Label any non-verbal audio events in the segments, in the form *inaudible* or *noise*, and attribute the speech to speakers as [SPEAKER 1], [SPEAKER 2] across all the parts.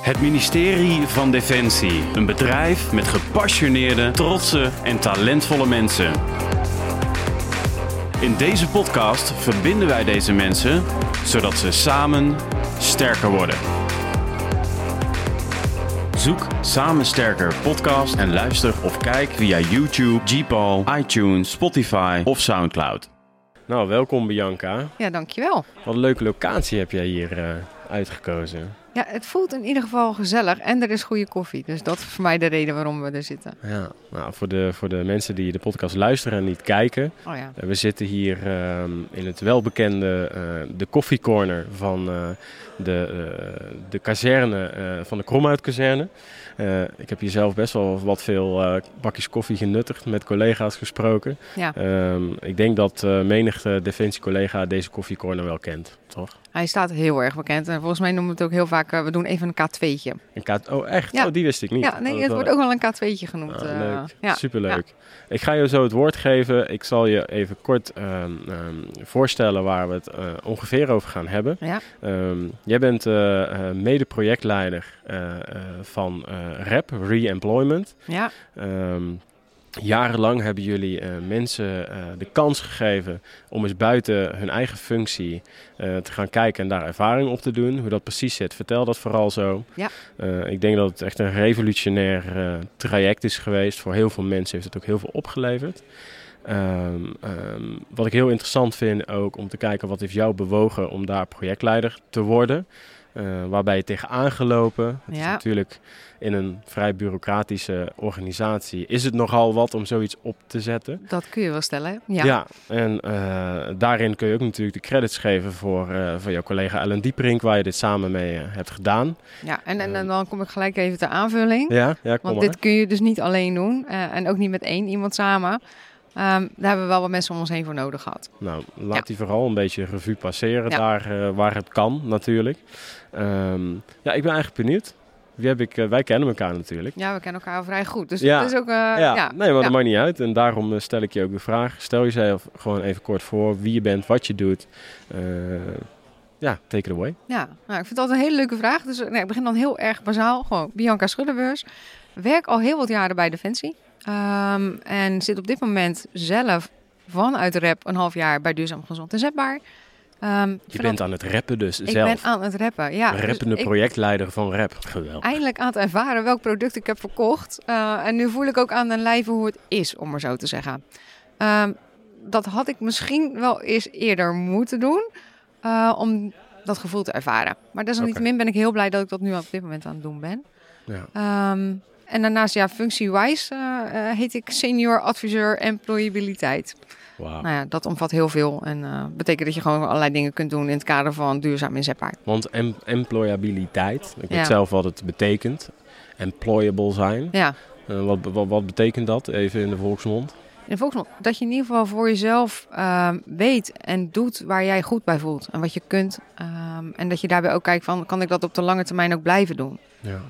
[SPEAKER 1] Het ministerie van Defensie. Een bedrijf met gepassioneerde, trotse en talentvolle mensen. In deze podcast verbinden wij deze mensen zodat ze samen sterker worden. Zoek Samen Sterker podcast en luister of kijk via YouTube, Gpal, iTunes, Spotify of Soundcloud.
[SPEAKER 2] Nou, welkom Bianca.
[SPEAKER 3] Ja, dankjewel.
[SPEAKER 2] Wat een leuke locatie heb jij hier eh, uitgekozen.
[SPEAKER 3] Ja, het voelt in ieder geval gezellig en er is goede koffie. Dus dat is voor mij de reden waarom we er zitten.
[SPEAKER 2] Ja, nou, voor, de, voor de mensen die de podcast luisteren en niet kijken.
[SPEAKER 3] Oh ja.
[SPEAKER 2] eh, We zitten hier ehm, in het welbekende eh, de koffiecorner van eh, de, eh, de kazerne, eh, van de Kromhoutkazerne. Eh, ik heb hier zelf best wel wat veel eh, bakjes koffie genuttigd, met collega's gesproken.
[SPEAKER 3] ja,
[SPEAKER 2] Ehm, ik denk dat eh menig eh, defensiecollega deze koffiecorner wel kent, toch?
[SPEAKER 3] hij staat heel erg bekend. En volgens mij noemen we het ook heel vaak, eh, we doen even een K2'tje.
[SPEAKER 2] Een kaart, oh echt?
[SPEAKER 3] Ja.
[SPEAKER 2] Oh, die wist ik niet.
[SPEAKER 3] Ja,
[SPEAKER 2] Oh,
[SPEAKER 3] nee,
[SPEAKER 2] dat
[SPEAKER 3] het
[SPEAKER 2] wel-
[SPEAKER 3] wordt ook wel een K2'tje genoemd.
[SPEAKER 2] Ah,
[SPEAKER 3] eh,
[SPEAKER 2] leuk.
[SPEAKER 3] ja.
[SPEAKER 2] Superleuk. Ik ga je zo het woord geven. Ik zal je even kort ehm, ehm, voorstellen waar we het eh, ongeveer over gaan hebben.
[SPEAKER 3] Ja,
[SPEAKER 2] Ehm, jij bent eh, eh, mede-projectleider eh, eh, van eh, REP, Reemployment.
[SPEAKER 3] ja,
[SPEAKER 2] Ehm, jarenlang hebben jullie eh, mensen eh, de kans gegeven om eens buiten hun eigen functie eh, te gaan kijken en daar ervaring op te doen. Hoe dat precies zit, vertel dat vooral zo.
[SPEAKER 3] Ja.
[SPEAKER 2] Eh, ik denk dat het echt een revolutionair eh, traject is geweest. Voor heel veel mensen heeft het ook heel veel opgeleverd. Ehm, ehm, wat ik heel interessant vind ook om te kijken wat heeft jou bewogen om daar projectleider te worden. Eh waarbij je tegenaan gelopen. Het is
[SPEAKER 3] Ja.
[SPEAKER 2] natuurlijk in een vrij bureaucratische organisatie is het nogal wat om zoiets op te zetten.
[SPEAKER 3] dat kun je wel stellen. hè? Ja,
[SPEAKER 2] Ja, en eh, daarin kun je ook natuurlijk de credits geven voor, eh, voor jouw collega Ellen Dieprink, waar je dit samen mee eh, hebt gedaan.
[SPEAKER 3] ja. En, en, en dan kom ik gelijk even ter aanvulling.
[SPEAKER 2] Ja, ja kom
[SPEAKER 3] Want
[SPEAKER 2] maar.
[SPEAKER 3] dit kun je dus niet alleen doen eh, en ook niet met één iemand samen. Ehm, daar hebben we wel wat mensen om ons heen voor nodig gehad.
[SPEAKER 2] Nou, laat
[SPEAKER 3] Ja.
[SPEAKER 2] die vooral een beetje revue passeren
[SPEAKER 3] Ja.
[SPEAKER 2] daar eh, waar het kan natuurlijk. Ehm, ja, ik ben eigenlijk benieuwd. Wie heb ik, eh, wij kennen elkaar natuurlijk.
[SPEAKER 3] Ja, we kennen elkaar vrij goed. Dus
[SPEAKER 2] Ja.
[SPEAKER 3] het is ook... eh,
[SPEAKER 2] ja,
[SPEAKER 3] ja.
[SPEAKER 2] nee, maar
[SPEAKER 3] ja.
[SPEAKER 2] dat maakt niet uit. En daarom eh, stel ik je ook de vraag. Stel jezelf gewoon even kort voor wie je bent, wat je doet. Eh, ja, take it away.
[SPEAKER 3] Ja, nou, ik vind dat een hele leuke vraag. Dus eh, nee, ik begin dan heel erg bazaal. Gewoon Bianca Schuddebeurs. Werk al heel wat jaren bij Defensie. Ehm, en zit op dit moment zelf vanuit rep een half jaar bij Duurzaam Gezond en Zetbaar. Ehm, ik
[SPEAKER 2] Je
[SPEAKER 3] vind
[SPEAKER 2] bent
[SPEAKER 3] dat-
[SPEAKER 2] aan het rappen dus
[SPEAKER 3] ik
[SPEAKER 2] zelf.
[SPEAKER 3] ben aan het rappen. Ja, Dus
[SPEAKER 2] Rappende
[SPEAKER 3] ik
[SPEAKER 2] projectleider van rap. Geweldig.
[SPEAKER 3] eindelijk aan het ervaren welk product ik heb verkocht. Eh, en nu voel ik ook aan mijn lijve hoe het is, om maar zo te zeggen. Ehm, dat had ik misschien wel eens eerder moeten doen eh, om dat gevoel te ervaren. Maar desalniettemin ben ik heel blij dat ik dat nu op dit moment aan het doen ben.
[SPEAKER 2] Ja.
[SPEAKER 3] Ehm, en daarnaast, ja, functie-wise eh, eh, heet ik senior adviseur employabiliteit.
[SPEAKER 2] Wauw.
[SPEAKER 3] Nou ja, dat omvat heel veel en eh, betekent dat je gewoon allerlei dingen kunt doen in het kader van duurzaam inzetbaar.
[SPEAKER 2] Want em- employabiliteit, ik weet
[SPEAKER 3] Ja.
[SPEAKER 2] zelf wat het betekent. Employable zijn.
[SPEAKER 3] Ja.
[SPEAKER 2] Eh, wat, wat, wat betekent dat even in de volksmond?
[SPEAKER 3] In volksmond, dat je in ieder geval voor jezelf ehm, weet en doet waar jij goed bij voelt en wat je kunt. Ehm, en dat je daarbij ook kijkt van, kan ik dat op de lange termijn ook blijven doen?
[SPEAKER 2] Ja.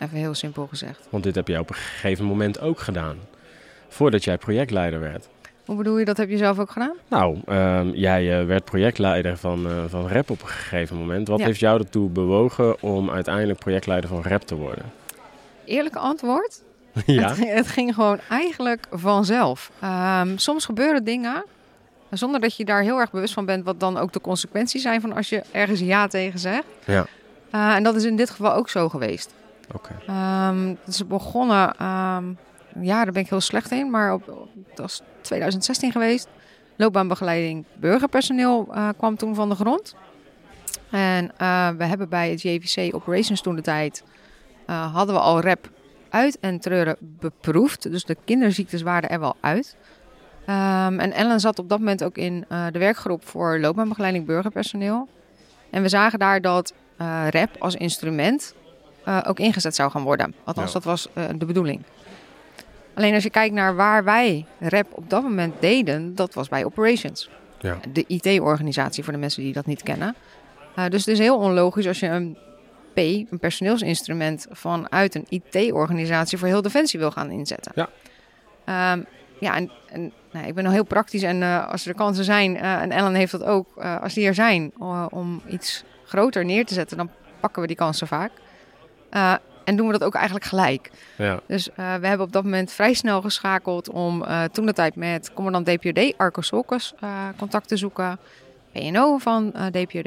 [SPEAKER 3] Even heel simpel gezegd.
[SPEAKER 2] Want dit heb jij op een gegeven moment ook gedaan. Voordat jij projectleider werd.
[SPEAKER 3] Hoe bedoel je, dat heb je zelf ook gedaan?
[SPEAKER 2] Nou, ehm, jij eh, werd projectleider van, eh, van Rap op een gegeven moment. Wat
[SPEAKER 3] Ja.
[SPEAKER 2] heeft jou ertoe bewogen om uiteindelijk projectleider van Rap te worden? *laughs*
[SPEAKER 3] Eerlijk antwoord,
[SPEAKER 2] ja?
[SPEAKER 3] het, ging- het ging gewoon eigenlijk vanzelf. Ehm, soms gebeuren dingen zonder dat je daar heel erg bewust van bent... wat dan ook de consequenties zijn van als je ergens ja tegen zegt.
[SPEAKER 2] Ja.
[SPEAKER 3] Eh, en dat is in dit geval ook zo geweest.
[SPEAKER 2] Oké.
[SPEAKER 3] Ehm, dat is begonnen, ehm, ja, daar ben ik heel slecht in, maar op, op- dat is 2016 geweest. Loopbaanbegeleiding burgerpersoneel eh, kwam toen van de grond. En eh, we hebben bij het JVC Operations toen de tijd, eh, hadden we al rep uit en treuren beproefd. Dus de kinderziektes waren er wel uit. Ehm, en Ellen zat op dat moment ook in eh, de werkgroep voor loopbaanbegeleiding burgerpersoneel. En we zagen daar dat eh rep als instrument eh, ook ingezet zou gaan worden. Althans,
[SPEAKER 2] Ja.
[SPEAKER 3] dat was eh, de bedoeling. Alleen als je kijkt naar waar wij rep op dat moment deden, dat was bij Operations.
[SPEAKER 2] Ja.
[SPEAKER 3] De IT-organisatie voor de mensen die dat niet kennen. Eh, dus het is heel onlogisch als je een P, een personeelsinstrument, vanuit een IT-organisatie voor heel Defensie wil gaan inzetten.
[SPEAKER 2] Ja.
[SPEAKER 3] Ehm, ja, en, en nou, ik ben al heel praktisch en eh, als er kansen zijn, eh, en Ellen heeft dat ook, eh, als die er zijn eh, om iets groter neer te zetten, dan pakken we die kansen vaak. Eh, en doen we dat ook eigenlijk gelijk.
[SPEAKER 2] Ja.
[SPEAKER 3] Dus eh, we hebben op dat moment vrij snel geschakeld om eh, toen de tijd met commandant DPOD Arco Solkes eh, contact te zoeken. PNO van eh, DPOD.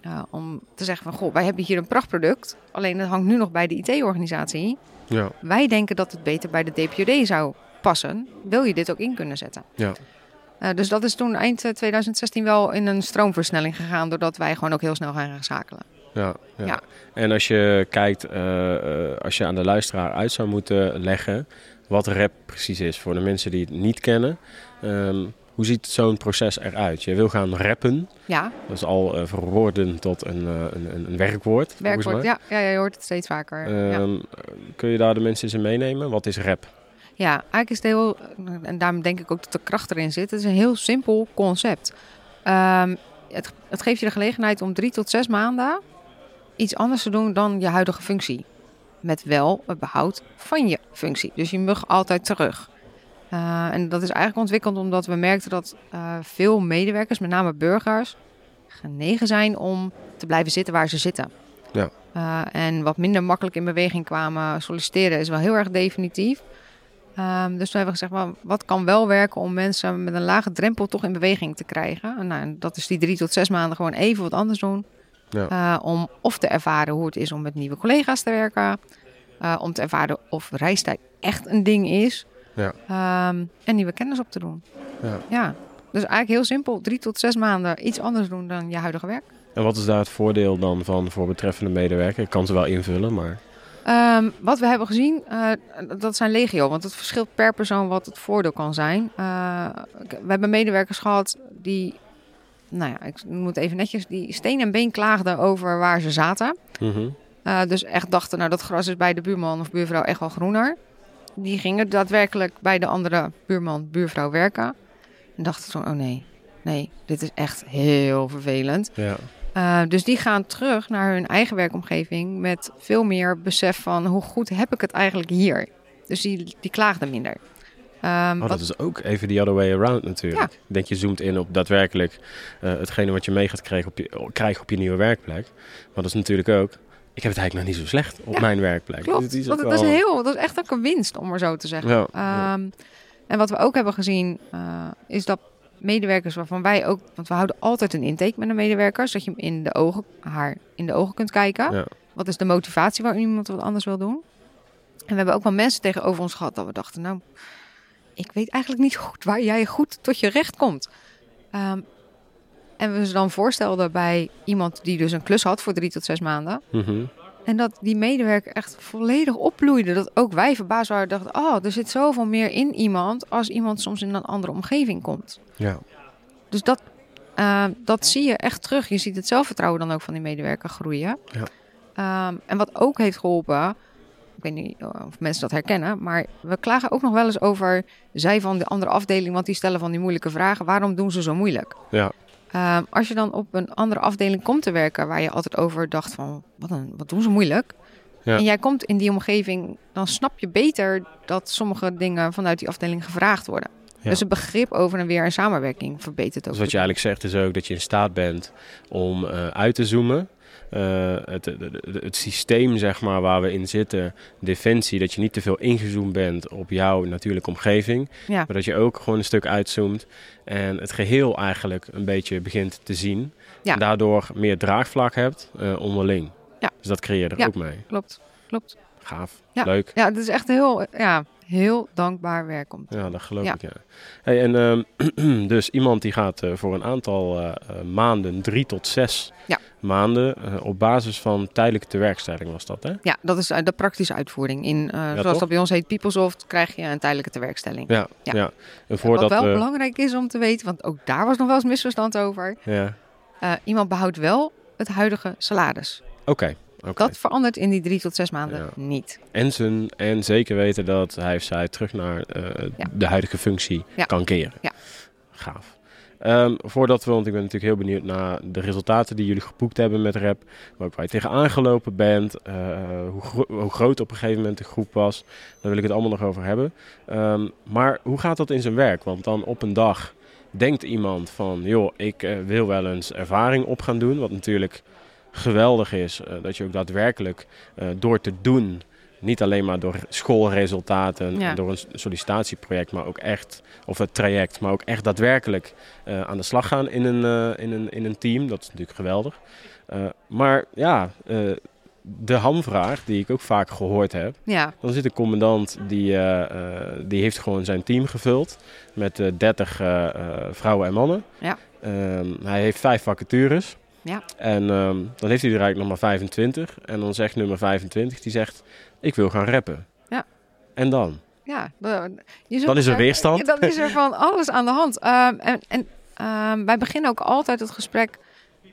[SPEAKER 3] eh, om te zeggen van, goh, wij hebben hier een prachtproduct. Alleen dat hangt nu nog bij de IT-organisatie.
[SPEAKER 2] Ja.
[SPEAKER 3] Wij denken dat het beter bij de DPOD zou passen. Wil je dit ook in kunnen zetten?
[SPEAKER 2] Ja.
[SPEAKER 3] Eh, dus dat is toen eind eh, 2016 wel in een stroomversnelling gegaan. Doordat wij gewoon ook heel snel gaan gaan schakelen.
[SPEAKER 2] Ja, ja.
[SPEAKER 3] Ja.
[SPEAKER 2] En als je kijkt, eh, eh, als je aan de luisteraar uit zou moeten leggen wat rap precies is voor de mensen die het niet kennen. ehm, hoe ziet zo'n proces eruit? Je wil gaan rappen,
[SPEAKER 3] Ja,
[SPEAKER 2] dat is al eh, verwoorden tot een, eh, een, een- een werkwoord. volgens
[SPEAKER 3] werkwoord.
[SPEAKER 2] mij.
[SPEAKER 3] Ja, ja, ja, je hoort het steeds vaker. ja.
[SPEAKER 2] Ehm, Kun je daar de mensen eens in meenemen? Wat is rap?
[SPEAKER 3] Ja, eigenlijk is het heel, en daarom denk ik ook dat de kracht erin zit. Het is een heel simpel concept. Ehm, het, het geeft je de gelegenheid om drie tot zes maanden iets anders te doen dan je huidige functie. Met wel het behoud van je functie. Dus je mag altijd terug. Eh, en dat is eigenlijk ontwikkeld omdat we merkten dat eh, veel medewerkers, met name burgers, genegen zijn om te blijven zitten waar ze zitten.
[SPEAKER 2] Ja.
[SPEAKER 3] Eh, en wat minder makkelijk in beweging kwamen, solliciteren is wel heel erg definitief. Ehm, dus toen hebben we gezegd, maar wat kan wel werken om mensen met een lage drempel toch in beweging te krijgen? En, nou, en dat is die drie tot zes maanden gewoon even wat anders doen.
[SPEAKER 2] Ja.
[SPEAKER 3] Eh, om of te ervaren hoe het is om met nieuwe collega's te werken. eh, om te ervaren of reistijd echt een ding is.
[SPEAKER 2] Ja.
[SPEAKER 3] Ehm, en nieuwe kennis op te doen.
[SPEAKER 2] Ja.
[SPEAKER 3] Dus eigenlijk heel simpel, drie tot zes maanden iets anders doen dan je huidige werk.
[SPEAKER 2] En wat is daar het voordeel dan van voor betreffende medewerker? Ik kan ze wel invullen, maar...
[SPEAKER 3] Ehm, wat we hebben gezien, eh, dat zijn legio. Want het verschilt per persoon wat het voordeel kan zijn. Eh, we hebben medewerkers gehad die, nou ja, ik noem het even netjes, die steen en been klaagden over waar ze zaten.
[SPEAKER 2] Mhm.
[SPEAKER 3] Eh, dus echt dachten, nou dat gras is bij de buurman of buurvrouw echt wel groener. Die gingen daadwerkelijk bij de andere buurman, buurvrouw werken. En dachten toen, oh nee, nee, dit is echt heel vervelend.
[SPEAKER 2] Ja.
[SPEAKER 3] Eh, dus die gaan terug naar hun eigen werkomgeving met veel meer besef van hoe goed heb ik het eigenlijk hier. Dus die, die klaagden minder. Ehm,
[SPEAKER 2] Oh,
[SPEAKER 3] wat-
[SPEAKER 2] dat is ook even the other way around natuurlijk. Ik denk, je zoomt in op daadwerkelijk eh, hetgene wat je mee gaat krijgen op je, oh, krijgen op je nieuwe werkplek. Maar dat is natuurlijk ook, ik heb het eigenlijk nog niet zo slecht op
[SPEAKER 3] Ja,
[SPEAKER 2] mijn werkplek.
[SPEAKER 3] klopt,
[SPEAKER 2] Dit
[SPEAKER 3] want
[SPEAKER 2] ook
[SPEAKER 3] dat, is
[SPEAKER 2] wel-
[SPEAKER 3] heel, dat is echt ook een winst om maar zo te zeggen.
[SPEAKER 2] Ja, ja.
[SPEAKER 3] Ehm, En wat we ook hebben gezien, eh, is dat medewerkers waarvan wij ook... Want we houden altijd een intake met de medewerker, zodat je hem in de ogen, haar in de ogen kunt kijken.
[SPEAKER 2] Ja.
[SPEAKER 3] Wat is de motivatie waarom iemand wat anders wil doen? En we hebben ook wel mensen tegenover ons gehad dat we dachten... Nou, ik weet eigenlijk niet goed waar jij goed tot je recht komt. Ehm, en we ze dan voorstelden bij iemand die dus een klus had voor drie tot zes maanden.
[SPEAKER 2] Mhm.
[SPEAKER 3] En dat die medewerker echt volledig opbloeide. Dat ook wij verbaasd waren. Dachten, oh, er zit zoveel meer in iemand als iemand soms in een andere omgeving komt.
[SPEAKER 2] ja.
[SPEAKER 3] Dus dat, eh, dat zie je echt terug. Je ziet het zelfvertrouwen dan ook van die medewerker groeien.
[SPEAKER 2] Ja.
[SPEAKER 3] Ehm, en wat ook heeft geholpen, ik weet niet of mensen dat herkennen, maar we klagen ook nog wel eens over zij van de andere afdeling, want die stellen van die moeilijke vragen. Waarom doen ze zo moeilijk?
[SPEAKER 2] Ja.
[SPEAKER 3] Ehm, als je dan op een andere afdeling komt te werken, waar je altijd over dacht van, wat, een, wat doen ze moeilijk?
[SPEAKER 2] Ja.
[SPEAKER 3] En jij komt in die omgeving, dan snap je beter dat sommige dingen vanuit die afdeling gevraagd worden.
[SPEAKER 2] Ja.
[SPEAKER 3] Dus het begrip over en weer en samenwerking verbetert ook.
[SPEAKER 2] Dus wat je eigenlijk zegt is ook dat je in staat bent om eh, uit te zoomen. Eh, het, het, het- het systeem zeg maar, waar we in zitten, defensie, dat je niet te veel ingezoomd bent op jouw natuurlijke omgeving.
[SPEAKER 3] Ja.
[SPEAKER 2] Maar dat je ook gewoon een stuk uitzoomt en het geheel eigenlijk een beetje begint te zien.
[SPEAKER 3] Ja.
[SPEAKER 2] En daardoor meer draagvlak hebt eh, onderling.
[SPEAKER 3] Ja.
[SPEAKER 2] Dus dat creëer je er
[SPEAKER 3] Ja.
[SPEAKER 2] ook mee.
[SPEAKER 3] Klopt, klopt.
[SPEAKER 2] Gaaf,
[SPEAKER 3] Ja.
[SPEAKER 2] leuk.
[SPEAKER 3] Ja, het is echt heel, ja, heel dankbaar werk om te
[SPEAKER 2] Ja, dat geloof
[SPEAKER 3] Ja.
[SPEAKER 2] ik, ja. Hey, en ehm, *clears throat* dus iemand die gaat eh, voor een aantal eh, eh, maanden, drie tot zes
[SPEAKER 3] Ja.
[SPEAKER 2] maanden, eh, op basis van tijdelijke tewerkstelling was dat, hè?
[SPEAKER 3] Ja, dat is eh, de praktische uitvoering. In, eh, zoals
[SPEAKER 2] toch?
[SPEAKER 3] dat bij ons heet, PeopleSoft, krijg je een tijdelijke tewerkstelling.
[SPEAKER 2] Ja, eh, ja.
[SPEAKER 3] Ja.
[SPEAKER 2] En voordat
[SPEAKER 3] Wat wel
[SPEAKER 2] we-
[SPEAKER 3] belangrijk is om te weten, want ook daar was nog wel eens misverstand over.
[SPEAKER 2] Ja,
[SPEAKER 3] eh, iemand behoudt wel het huidige salaris.
[SPEAKER 2] oké. oké.
[SPEAKER 3] Dat verandert in die drie tot zes maanden
[SPEAKER 2] Ja.
[SPEAKER 3] niet.
[SPEAKER 2] En, zijn, en zeker weten dat hij of zij terug naar eh,
[SPEAKER 3] Ja.
[SPEAKER 2] de huidige functie
[SPEAKER 3] Ja.
[SPEAKER 2] kan keren.
[SPEAKER 3] Ja.
[SPEAKER 2] Gaaf. Ehm, voordat we, want ik ben natuurlijk heel benieuwd naar de resultaten die jullie geboekt hebben met RAP. Maar ook waar je tegenaan gelopen bent. eh, hoe, gro- hoe groot op een gegeven moment de groep was. Daar wil ik het allemaal nog over hebben. Ehm, maar hoe gaat dat in zijn werk? Want dan op een dag denkt iemand van... joh, ik eh, wil wel eens ervaring op gaan doen. Wat natuurlijk geweldig is. eh, dat je ook daadwerkelijk eh, door te doen, niet alleen maar door schoolresultaten
[SPEAKER 3] Ja.
[SPEAKER 2] en door een s- sollicitatieproject, maar ook echt, of het traject, maar ook echt daadwerkelijk eh, aan de slag gaan in een, eh, in, een, in een team. Dat is natuurlijk geweldig. Eh, maar ja, eh, de hamvraag die ik ook vaak gehoord heb.
[SPEAKER 3] Ja,
[SPEAKER 2] Dan zit de commandant, die, eh, eh, die heeft gewoon zijn team gevuld met eh 30 eh, eh, vrouwen en mannen.
[SPEAKER 3] Ja.
[SPEAKER 2] Ehm, hij heeft vijf vacatures.
[SPEAKER 3] Ja.
[SPEAKER 2] En ehm, dan heeft hij er eigenlijk nog maar 25. En dan zegt nummer 25, die zegt, ik wil gaan rappen.
[SPEAKER 3] Ja.
[SPEAKER 2] En dan?
[SPEAKER 3] ja. de- je zult-
[SPEAKER 2] Dan is er
[SPEAKER 3] Ja,
[SPEAKER 2] weerstand.
[SPEAKER 3] *laughs* Dan is er van alles aan de hand. Ehm, en en ehm, wij beginnen ook altijd het gesprek,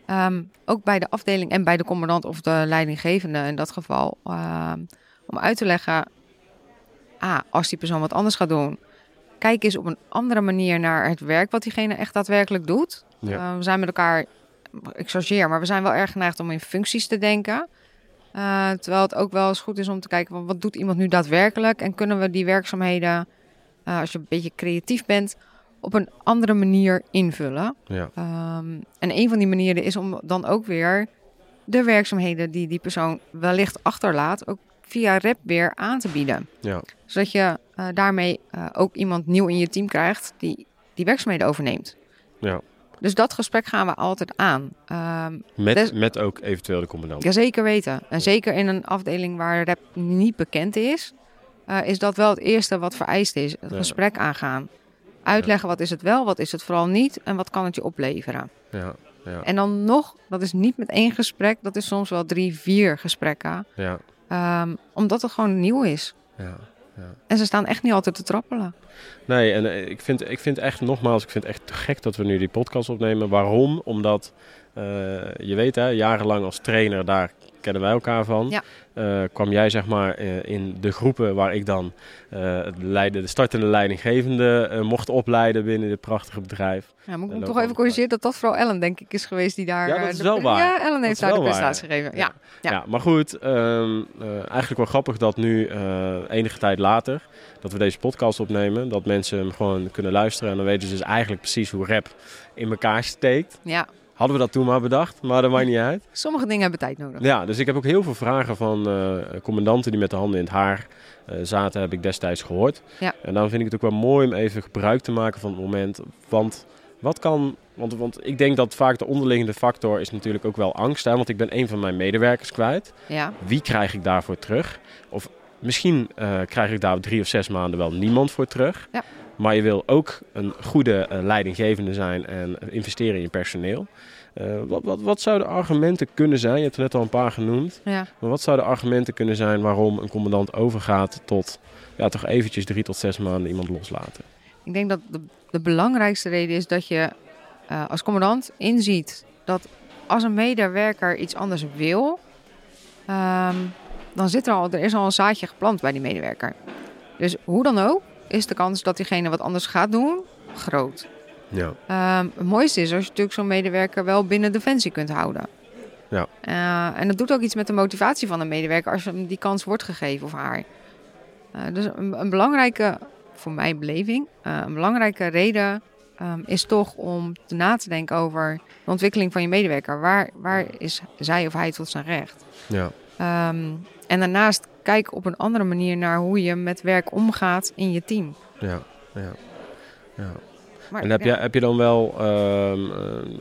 [SPEAKER 3] ehm, ook bij de afdeling en bij de commandant of de leidinggevende in dat geval, ehm, om uit te leggen, ah, als die persoon wat anders gaat doen, kijk eens op een andere manier naar het werk wat diegene echt daadwerkelijk doet.
[SPEAKER 2] Ja.
[SPEAKER 3] Eh, we zijn met elkaar, ik chargeer, maar we zijn wel erg geneigd om in functies te denken. Eh, terwijl het ook wel eens goed is om te kijken van wat doet iemand nu daadwerkelijk en kunnen we die werkzaamheden, eh, als je een beetje creatief bent, op een andere manier invullen.
[SPEAKER 2] Ja.
[SPEAKER 3] Ehm, en een van die manieren is om dan ook weer de werkzaamheden die die persoon wellicht achterlaat, ook via rep weer aan te bieden.
[SPEAKER 2] Ja.
[SPEAKER 3] Zodat je eh, daarmee eh, ook iemand nieuw in je team krijgt die die werkzaamheden overneemt.
[SPEAKER 2] Ja.
[SPEAKER 3] Dus dat gesprek gaan we altijd aan. Ehm,
[SPEAKER 2] Met,
[SPEAKER 3] Dus-
[SPEAKER 2] met ook eventueel de commandant.
[SPEAKER 3] ja, zeker weten. En zeker in een afdeling waar rap niet bekend is, eh, is dat wel het eerste wat vereist is. Het
[SPEAKER 2] Ja.
[SPEAKER 3] gesprek aangaan. Uitleggen wat is het wel, wat is het vooral niet en wat kan het je opleveren.
[SPEAKER 2] Ja. Ja.
[SPEAKER 3] En dan nog, dat is niet met één gesprek, dat is soms wel drie, vier gesprekken.
[SPEAKER 2] Ja.
[SPEAKER 3] ehm, omdat het gewoon nieuw is.
[SPEAKER 2] ja.
[SPEAKER 3] En ze staan echt niet altijd te trappelen.
[SPEAKER 2] Nee, en eh, ik vind, ik vind echt, nogmaals, ik vind het echt te gek dat we nu die podcast opnemen. Waarom? Omdat, eh, je weet hè, jarenlang als trainer, daar kennen wij elkaar van.
[SPEAKER 3] Ja.
[SPEAKER 2] Eh, kwam jij zeg maar eh, in de groepen waar ik dan eh, het leiden, de startende leidinggevende eh, mocht opleiden binnen dit prachtige bedrijf.
[SPEAKER 3] Ja, moet ik
[SPEAKER 2] En
[SPEAKER 3] me
[SPEAKER 2] ook
[SPEAKER 3] toch even
[SPEAKER 2] al-
[SPEAKER 3] corrigeren dat dat vooral Ellen, denk ik, is geweest die daar...
[SPEAKER 2] Ja, dat
[SPEAKER 3] eh,
[SPEAKER 2] is
[SPEAKER 3] de-
[SPEAKER 2] wel waar.
[SPEAKER 3] Ja, Ellen
[SPEAKER 2] is
[SPEAKER 3] heeft daar de
[SPEAKER 2] wel waar.
[SPEAKER 3] prestatie gegeven. Ja. Ja.
[SPEAKER 2] Ja, maar goed, ehm, eh, eigenlijk wel grappig dat nu, eh, enige tijd later, dat we deze podcast opnemen, dat mensen hem gewoon kunnen luisteren. En dan weten ze dus eigenlijk precies hoe rap in elkaar steekt.
[SPEAKER 3] ja,
[SPEAKER 2] Hadden we dat toen maar bedacht, maar dat maakt niet uit.
[SPEAKER 3] sommige dingen hebben tijd nodig.
[SPEAKER 2] Ja, dus ik heb ook heel veel vragen van eh, commandanten die met de handen in het haar eh, zaten, heb ik destijds gehoord.
[SPEAKER 3] Ja.
[SPEAKER 2] En dan vind ik het ook wel mooi om even gebruik te maken van het moment. Want wat kan. Want, want ik denk dat vaak de onderliggende factor is natuurlijk ook wel angst. Hè? Want ik ben een van mijn medewerkers kwijt.
[SPEAKER 3] Ja,
[SPEAKER 2] Wie krijg ik daarvoor terug? Of misschien eh, krijg ik daar drie of zes maanden wel niemand voor terug.
[SPEAKER 3] Ja.
[SPEAKER 2] Maar je wil ook een goede eh, leidinggevende zijn en investeren in je personeel. Eh, wat, wat, wat zouden argumenten kunnen zijn? Je hebt er net al een paar genoemd.
[SPEAKER 3] ja.
[SPEAKER 2] Maar wat zouden argumenten kunnen zijn waarom een commandant overgaat tot ja, toch eventjes drie tot zes maanden iemand loslaten?
[SPEAKER 3] Ik denk dat de, de belangrijkste reden is dat je eh, als commandant inziet dat als een medewerker iets anders wil, ehm, dan zit er al, er is al een zaadje geplant bij die medewerker. Dus hoe dan ook, is de kans dat diegene wat anders gaat doen groot.
[SPEAKER 2] Ja,
[SPEAKER 3] Ehm, het mooiste is als je natuurlijk zo'n medewerker wel binnen defensie kunt houden.
[SPEAKER 2] Ja.
[SPEAKER 3] Eh, en dat doet ook iets met de motivatie van een medewerker als hem die kans wordt gegeven of haar. Eh, dus een, een belangrijke, voor mij beleving, eh, een belangrijke reden ehm, is toch om te na te denken over de ontwikkeling van je medewerker. Waar, waar is zij of hij tot zijn recht?
[SPEAKER 2] ja,
[SPEAKER 3] Ehm, en daarnaast kijk op een andere manier naar hoe je met werk omgaat in je team.
[SPEAKER 2] ja, ja. ja.
[SPEAKER 3] Maar,
[SPEAKER 2] En heb,
[SPEAKER 3] ja.
[SPEAKER 2] je, heb je dan wel, ehm, eh,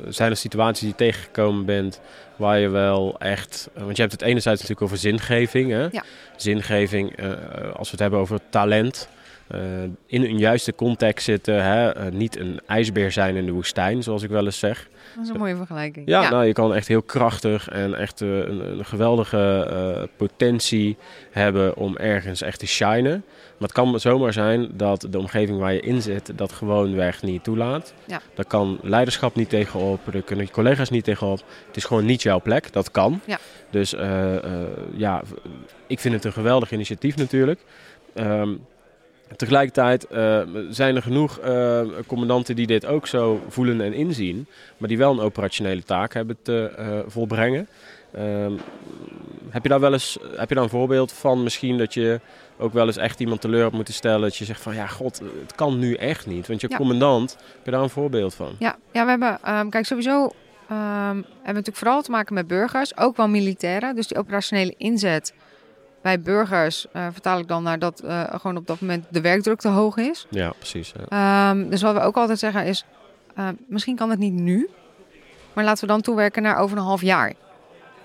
[SPEAKER 2] zijn er situaties die je tegengekomen bent waar je wel echt, eh, want je hebt het enerzijds natuurlijk over zingeving, hè?
[SPEAKER 3] Ja.
[SPEAKER 2] Zingeving, eh, als we het hebben over talent, eh, in een juiste context zitten, hè? eh, niet een ijsbeer zijn in de woestijn, zoals ik wel eens zeg.
[SPEAKER 3] Dat is een mooie vergelijking.
[SPEAKER 2] Ja, nou, je kan echt heel krachtig en echt eh, een, een geweldige eh, potentie hebben om ergens echt te shinen. Maar het kan zomaar zijn dat de omgeving waar je in zit dat gewoonweg niet toelaat.
[SPEAKER 3] Ja.
[SPEAKER 2] Daar kan leiderschap niet tegenop, daar kunnen je collega's niet tegenop. Het is gewoon niet jouw plek, dat kan.
[SPEAKER 3] Ja.
[SPEAKER 2] Dus eh, eh, ja, v- ik vind het een geweldig initiatief natuurlijk. Ehm, Tegelijkertijd eh, zijn er genoeg eh, commandanten die dit ook zo voelen en inzien maar die wel een operationele taak hebben te eh, volbrengen. Ehm, heb je daar wel eens heb je daar een voorbeeld van misschien dat je ook wel eens echt iemand teleur hebt moeten stellen? Dat je zegt van ja, god, het kan nu echt niet. Want je
[SPEAKER 3] Ja.
[SPEAKER 2] commandant, heb je daar een voorbeeld van?
[SPEAKER 3] Ja, ja we hebben, ehm, kijk, sowieso hebben natuurlijk vooral te maken met burgers, ook wel militairen. Dus die operationele inzet bij burgers eh, vertaal ik dan naar dat eh, gewoon op dat moment de werkdruk te hoog is.
[SPEAKER 2] Ja, precies. ja.
[SPEAKER 3] Ehm, dus wat we ook altijd zeggen is, eh, misschien kan het niet nu, maar laten we dan toewerken naar over een half jaar.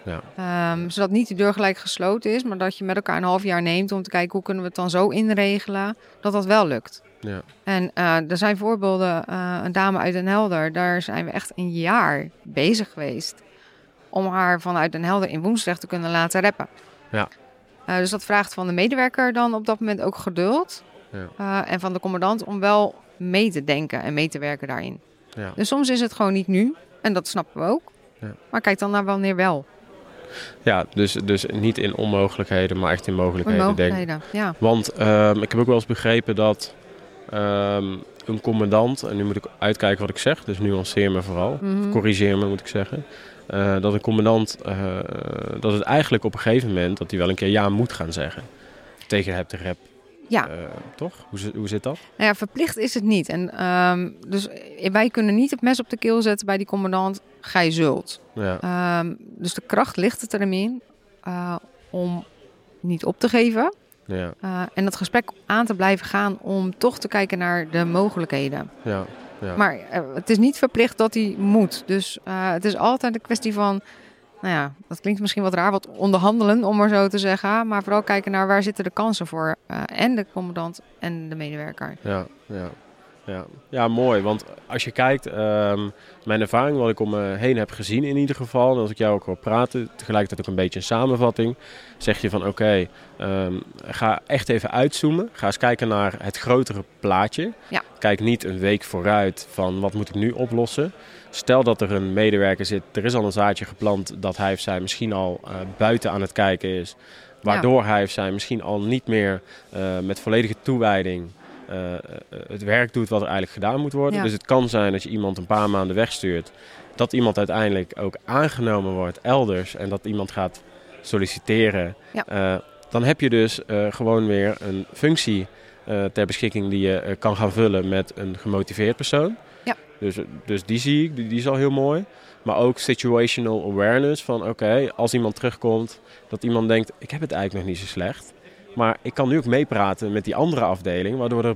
[SPEAKER 2] Ja.
[SPEAKER 3] Ehm, zodat niet de deur gelijk gesloten is, maar dat je met elkaar een half jaar neemt om te kijken hoe kunnen we het dan zo inregelen dat dat wel lukt.
[SPEAKER 2] Ja.
[SPEAKER 3] En eh, er zijn voorbeelden, eh, een dame uit Den Helder, daar zijn we echt een jaar bezig geweest om haar vanuit Den Helder in Woensdrecht te kunnen laten rappen.
[SPEAKER 2] Ja.
[SPEAKER 3] Eh, dus dat vraagt van de medewerker dan op dat moment ook geduld.
[SPEAKER 2] Ja.
[SPEAKER 3] Eh, en van de commandant om wel mee te denken en mee te werken daarin.
[SPEAKER 2] Ja.
[SPEAKER 3] Dus soms is het gewoon niet nu. En dat snappen we ook.
[SPEAKER 2] Ja.
[SPEAKER 3] Maar kijk dan naar wanneer wel.
[SPEAKER 2] Ja, dus, dus niet in onmogelijkheden, maar echt in mogelijkheden, denk ik.
[SPEAKER 3] Mogelijkheden. Ja.
[SPEAKER 2] Want ehm, ik heb ook wel eens begrepen dat ehm, een commandant, en nu moet ik uitkijken wat ik zeg, dus nuanceer me vooral,
[SPEAKER 3] Mhm.
[SPEAKER 2] corrigeer me moet ik zeggen, eh, dat een commandant, eh, dat het eigenlijk op een gegeven moment, dat hij wel een keer ja moet gaan zeggen. Tegen heb de rap,
[SPEAKER 3] Ja.
[SPEAKER 2] eh, toch? Hoe, zit- hoe zit dat?
[SPEAKER 3] Nou ja, verplicht is het niet. En, ehm, dus wij kunnen niet het mes op de keel zetten bij die commandant. Gij zult.
[SPEAKER 2] Ja,
[SPEAKER 3] Ehm, dus de kracht ligt het erin eh, om niet op te geven.
[SPEAKER 2] ja,
[SPEAKER 3] eh, en dat gesprek aan te blijven gaan om toch te kijken naar de mogelijkheden.
[SPEAKER 2] ja. Ja.
[SPEAKER 3] Maar eh, het is niet verplicht dat hij moet. Dus eh, het is altijd een kwestie van, nou ja, dat klinkt misschien wat raar, wat onderhandelen om maar zo te zeggen. Maar vooral kijken naar waar zitten de kansen voor. eh, en de commandant en de medewerker.
[SPEAKER 2] Ja, ja, ja. ja, mooi. Want als je kijkt, ehm, mijn ervaring, wat ik om me heen heb gezien in ieder geval, en als ik jou ook hoor praten, tegelijkertijd ook een beetje een samenvatting, zeg je van oké, ehm, ga echt even uitzoomen. Ga eens kijken naar het grotere plaatje.
[SPEAKER 3] Ja.
[SPEAKER 2] Kijk niet een week vooruit van wat moet ik nu oplossen. Stel dat er een medewerker zit, er is al een zaadje geplant dat hij of zij misschien al eh, buiten aan het kijken is. Waardoor hij of zij misschien al niet meer eh, met volledige toewijding eh, eh, het werk doet wat er eigenlijk gedaan moet worden.
[SPEAKER 3] Ja.
[SPEAKER 2] Dus het kan zijn dat je iemand een paar maanden wegstuurt, dat iemand uiteindelijk ook aangenomen wordt elders en dat iemand gaat solliciteren.
[SPEAKER 3] Ja.
[SPEAKER 2] Eh, dan heb je dus eh, gewoon weer een functie eh, ter beschikking die je eh, kan gaan vullen met een gemotiveerd persoon.
[SPEAKER 3] Ja.
[SPEAKER 2] Dus, dus die zie ik, die, die is al heel mooi. Maar ook situational awareness van oké, als iemand terugkomt, dat iemand denkt, ik heb het eigenlijk nog niet zo slecht. Maar ik kan nu ook meepraten met die andere afdeling, waardoor, er,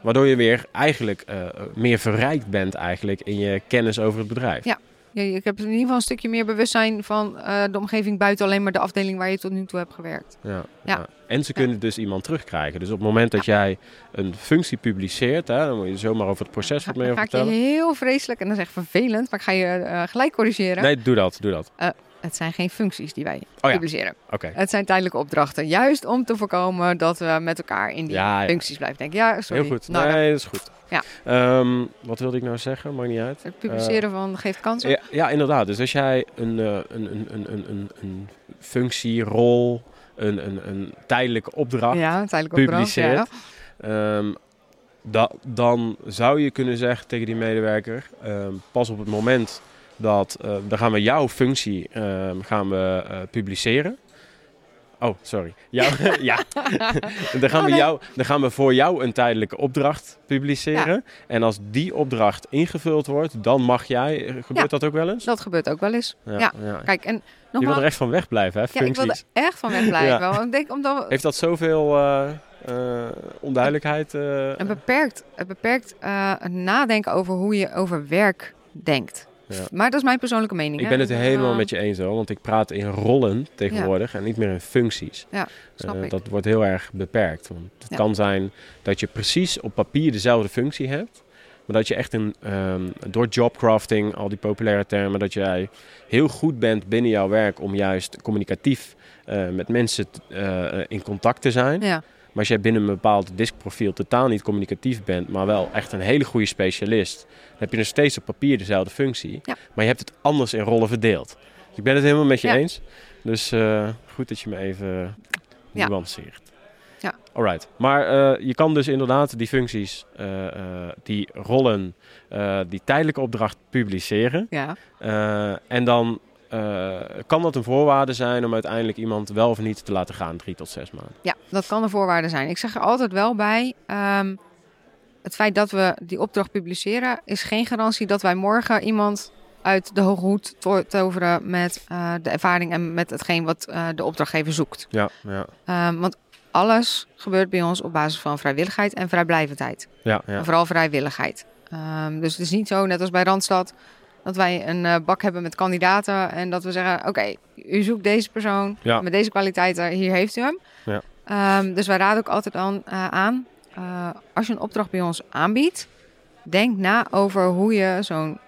[SPEAKER 2] waardoor je weer eigenlijk eh, meer verrijkt bent eigenlijk in je kennis over het bedrijf.
[SPEAKER 3] Ja. Ja, ik heb in ieder geval een stukje meer bewustzijn van eh, de omgeving buiten alleen maar de afdeling waar je tot nu toe hebt gewerkt.
[SPEAKER 2] Ja,
[SPEAKER 3] Ja.
[SPEAKER 2] ja. En ze
[SPEAKER 3] Ja.
[SPEAKER 2] kunnen dus iemand terugkrijgen. Dus op het moment dat jij een functie publiceert, hè, dan moet je zomaar over het proces
[SPEAKER 3] Ga,
[SPEAKER 2] wat meer
[SPEAKER 3] ga ik je
[SPEAKER 2] vertellen.
[SPEAKER 3] heel vreselijk, en dat is echt vervelend, maar ik ga je eh, gelijk corrigeren.
[SPEAKER 2] Nee, doe dat, doe dat. Oh
[SPEAKER 3] Het zijn geen functies die wij
[SPEAKER 2] ja.
[SPEAKER 3] publiceren.
[SPEAKER 2] Oké.
[SPEAKER 3] Het zijn tijdelijke opdrachten. Juist om te voorkomen dat we met elkaar in die
[SPEAKER 2] Ja, ja.
[SPEAKER 3] functies blijven denken. Ja, sorry.
[SPEAKER 2] Heel goed.
[SPEAKER 3] Nou,
[SPEAKER 2] nee, dat is goed.
[SPEAKER 3] Ja.
[SPEAKER 2] Ehm, wat wilde ik nou zeggen? Maakt niet uit.
[SPEAKER 3] Het
[SPEAKER 2] Eh,
[SPEAKER 3] publiceren van geeft kansen.
[SPEAKER 2] Ja, ja, inderdaad. Dus als jij een, eh, een, een, een, een, een, een functie, rol, een, een, een tijdelijke opdracht
[SPEAKER 3] Ja, tijdelijk opdracht.
[SPEAKER 2] publiceert,
[SPEAKER 3] Ja.
[SPEAKER 2] Ehm, da- dan zou je kunnen zeggen tegen die medewerker: ehm, pas op het moment dat eh, dan gaan we jouw functie ehm, gaan we, eh, publiceren. Oh, sorry. Jou, *laughs*
[SPEAKER 3] *laughs*
[SPEAKER 2] ja. dan, gaan
[SPEAKER 3] Oh,
[SPEAKER 2] we
[SPEAKER 3] nee.
[SPEAKER 2] jou, dan gaan we voor jou een tijdelijke opdracht publiceren. En als die opdracht ingevuld wordt, dan mag jij. eh, Gebeurt
[SPEAKER 3] Ja.
[SPEAKER 2] dat ook wel eens?
[SPEAKER 3] Dat gebeurt ook wel eens. ja. Kijk, en
[SPEAKER 2] Je wil
[SPEAKER 3] nogmaals,
[SPEAKER 2] er echt van wegblijven, hè?
[SPEAKER 3] ja, ik
[SPEAKER 2] Functies.
[SPEAKER 3] wil er echt van weg blijven. Want ik denk omdat we-
[SPEAKER 2] Heeft dat zoveel eh, eh, onduidelijkheid? eh,
[SPEAKER 3] het beperkt, het beperkt eh, het nadenken over hoe je over werk denkt.
[SPEAKER 2] Ja.
[SPEAKER 3] Maar dat is mijn persoonlijke mening.
[SPEAKER 2] Ik ben het helemaal met je eens hoor, want ik praat in rollen tegenwoordig en niet meer in functies.
[SPEAKER 3] Snap
[SPEAKER 2] Eh,
[SPEAKER 3] ik.
[SPEAKER 2] dat wordt heel erg beperkt. Want het
[SPEAKER 3] Ja.
[SPEAKER 2] kan zijn dat je precies op papier dezelfde functie hebt, maar dat je echt een, ehm, door jobcrafting, al die populaire termen, dat jij heel goed bent binnen jouw werk om juist communicatief eh, met mensen t- eh, in contact te zijn.
[SPEAKER 3] Ja,
[SPEAKER 2] Maar als jij binnen een bepaald diskprofiel totaal niet communicatief bent, maar wel echt een hele goede specialist, dan heb je nog steeds op papier dezelfde functie.
[SPEAKER 3] Ja.
[SPEAKER 2] Maar je hebt het anders in rollen verdeeld. Dus ik ben het helemaal met je
[SPEAKER 3] Ja.
[SPEAKER 2] eens. Dus eh, goed dat je me even
[SPEAKER 3] Ja.
[SPEAKER 2] nuanceert.
[SPEAKER 3] Ja.
[SPEAKER 2] Alright. Maar eh, je kan dus inderdaad die functies, eh, eh, die rollen, eh, die tijdelijke opdracht publiceren.
[SPEAKER 3] ja.
[SPEAKER 2] Eh, en dan eh, kan dat een voorwaarde zijn om uiteindelijk iemand wel of niet te laten gaan, drie tot zes maanden.
[SPEAKER 3] ja, dat kan een voorwaarde zijn. Ik zeg er altijd wel bij, ehm, het feit dat we die opdracht publiceren... is geen garantie dat wij morgen iemand uit de hoge hoed to- toveren met eh, de ervaring en met hetgeen wat eh, de opdrachtgever zoekt.
[SPEAKER 2] Ja, ja,
[SPEAKER 3] Ehm, want alles gebeurt bij ons op basis van vrijwilligheid en vrijblijvendheid.
[SPEAKER 2] ja, ja.
[SPEAKER 3] En vooral vrijwilligheid. Ehm, dus het is niet zo, net als bij Randstad, dat wij een eh, bak hebben met kandidaten en dat we zeggen: Oké, u zoekt deze persoon
[SPEAKER 2] Ja.
[SPEAKER 3] met deze kwaliteiten, hier heeft u hem.
[SPEAKER 2] Ja.
[SPEAKER 3] Ehm, dus wij raden ook altijd aan, eh, aan eh, als je een opdracht bij ons aanbiedt, denk na over hoe je zo'n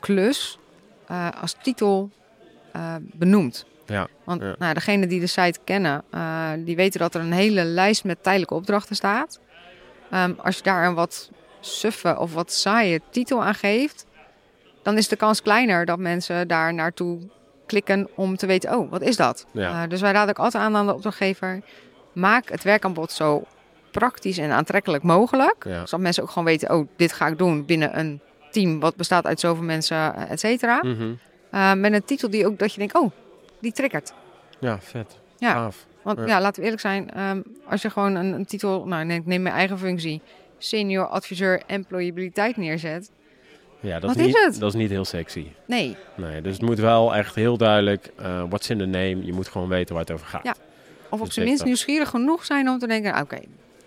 [SPEAKER 3] klus eh, als titel eh, benoemt.
[SPEAKER 2] Ja,
[SPEAKER 3] Want
[SPEAKER 2] ja.
[SPEAKER 3] Nou, degene die de site kennen, eh, die weten dat er een hele lijst met tijdelijke opdrachten staat. Ehm, als je daar een wat suffe of wat saaie titel aan geeft, dan is de kans kleiner dat mensen daar naartoe klikken om te weten, oh, wat is dat?
[SPEAKER 2] Ja.
[SPEAKER 3] Eh, dus wij raden ook altijd aan aan de opdrachtgever, maak het werkaanbod zo praktisch en aantrekkelijk mogelijk.
[SPEAKER 2] Ja.
[SPEAKER 3] Zodat mensen ook gewoon weten, oh, dit ga ik doen binnen een team wat bestaat uit zoveel mensen, eh, et cetera.
[SPEAKER 2] Mhm.
[SPEAKER 3] Eh, met een titel die ook dat je denkt, oh, die triggert.
[SPEAKER 2] ja vet.
[SPEAKER 3] Ja.
[SPEAKER 2] Gaaf.
[SPEAKER 3] Want
[SPEAKER 2] Ah, Ja.
[SPEAKER 3] ja, laten we eerlijk zijn, ehm, als je gewoon een, een titel, nou neem, neem mijn eigen functie, senior adviseur employabiliteit neerzet.
[SPEAKER 2] Ja, dat
[SPEAKER 3] Wat
[SPEAKER 2] is,
[SPEAKER 3] is
[SPEAKER 2] niet,
[SPEAKER 3] het?
[SPEAKER 2] Dat is niet heel sexy.
[SPEAKER 3] Nee,
[SPEAKER 2] Nee, dus het moet wel echt heel duidelijk, eh what's in the name, je moet gewoon weten waar het over gaat.
[SPEAKER 3] Ja. of op
[SPEAKER 2] Dus
[SPEAKER 3] zijn
[SPEAKER 2] ik
[SPEAKER 3] minst
[SPEAKER 2] dacht-
[SPEAKER 3] nieuwsgierig genoeg zijn om te denken, ah, oké,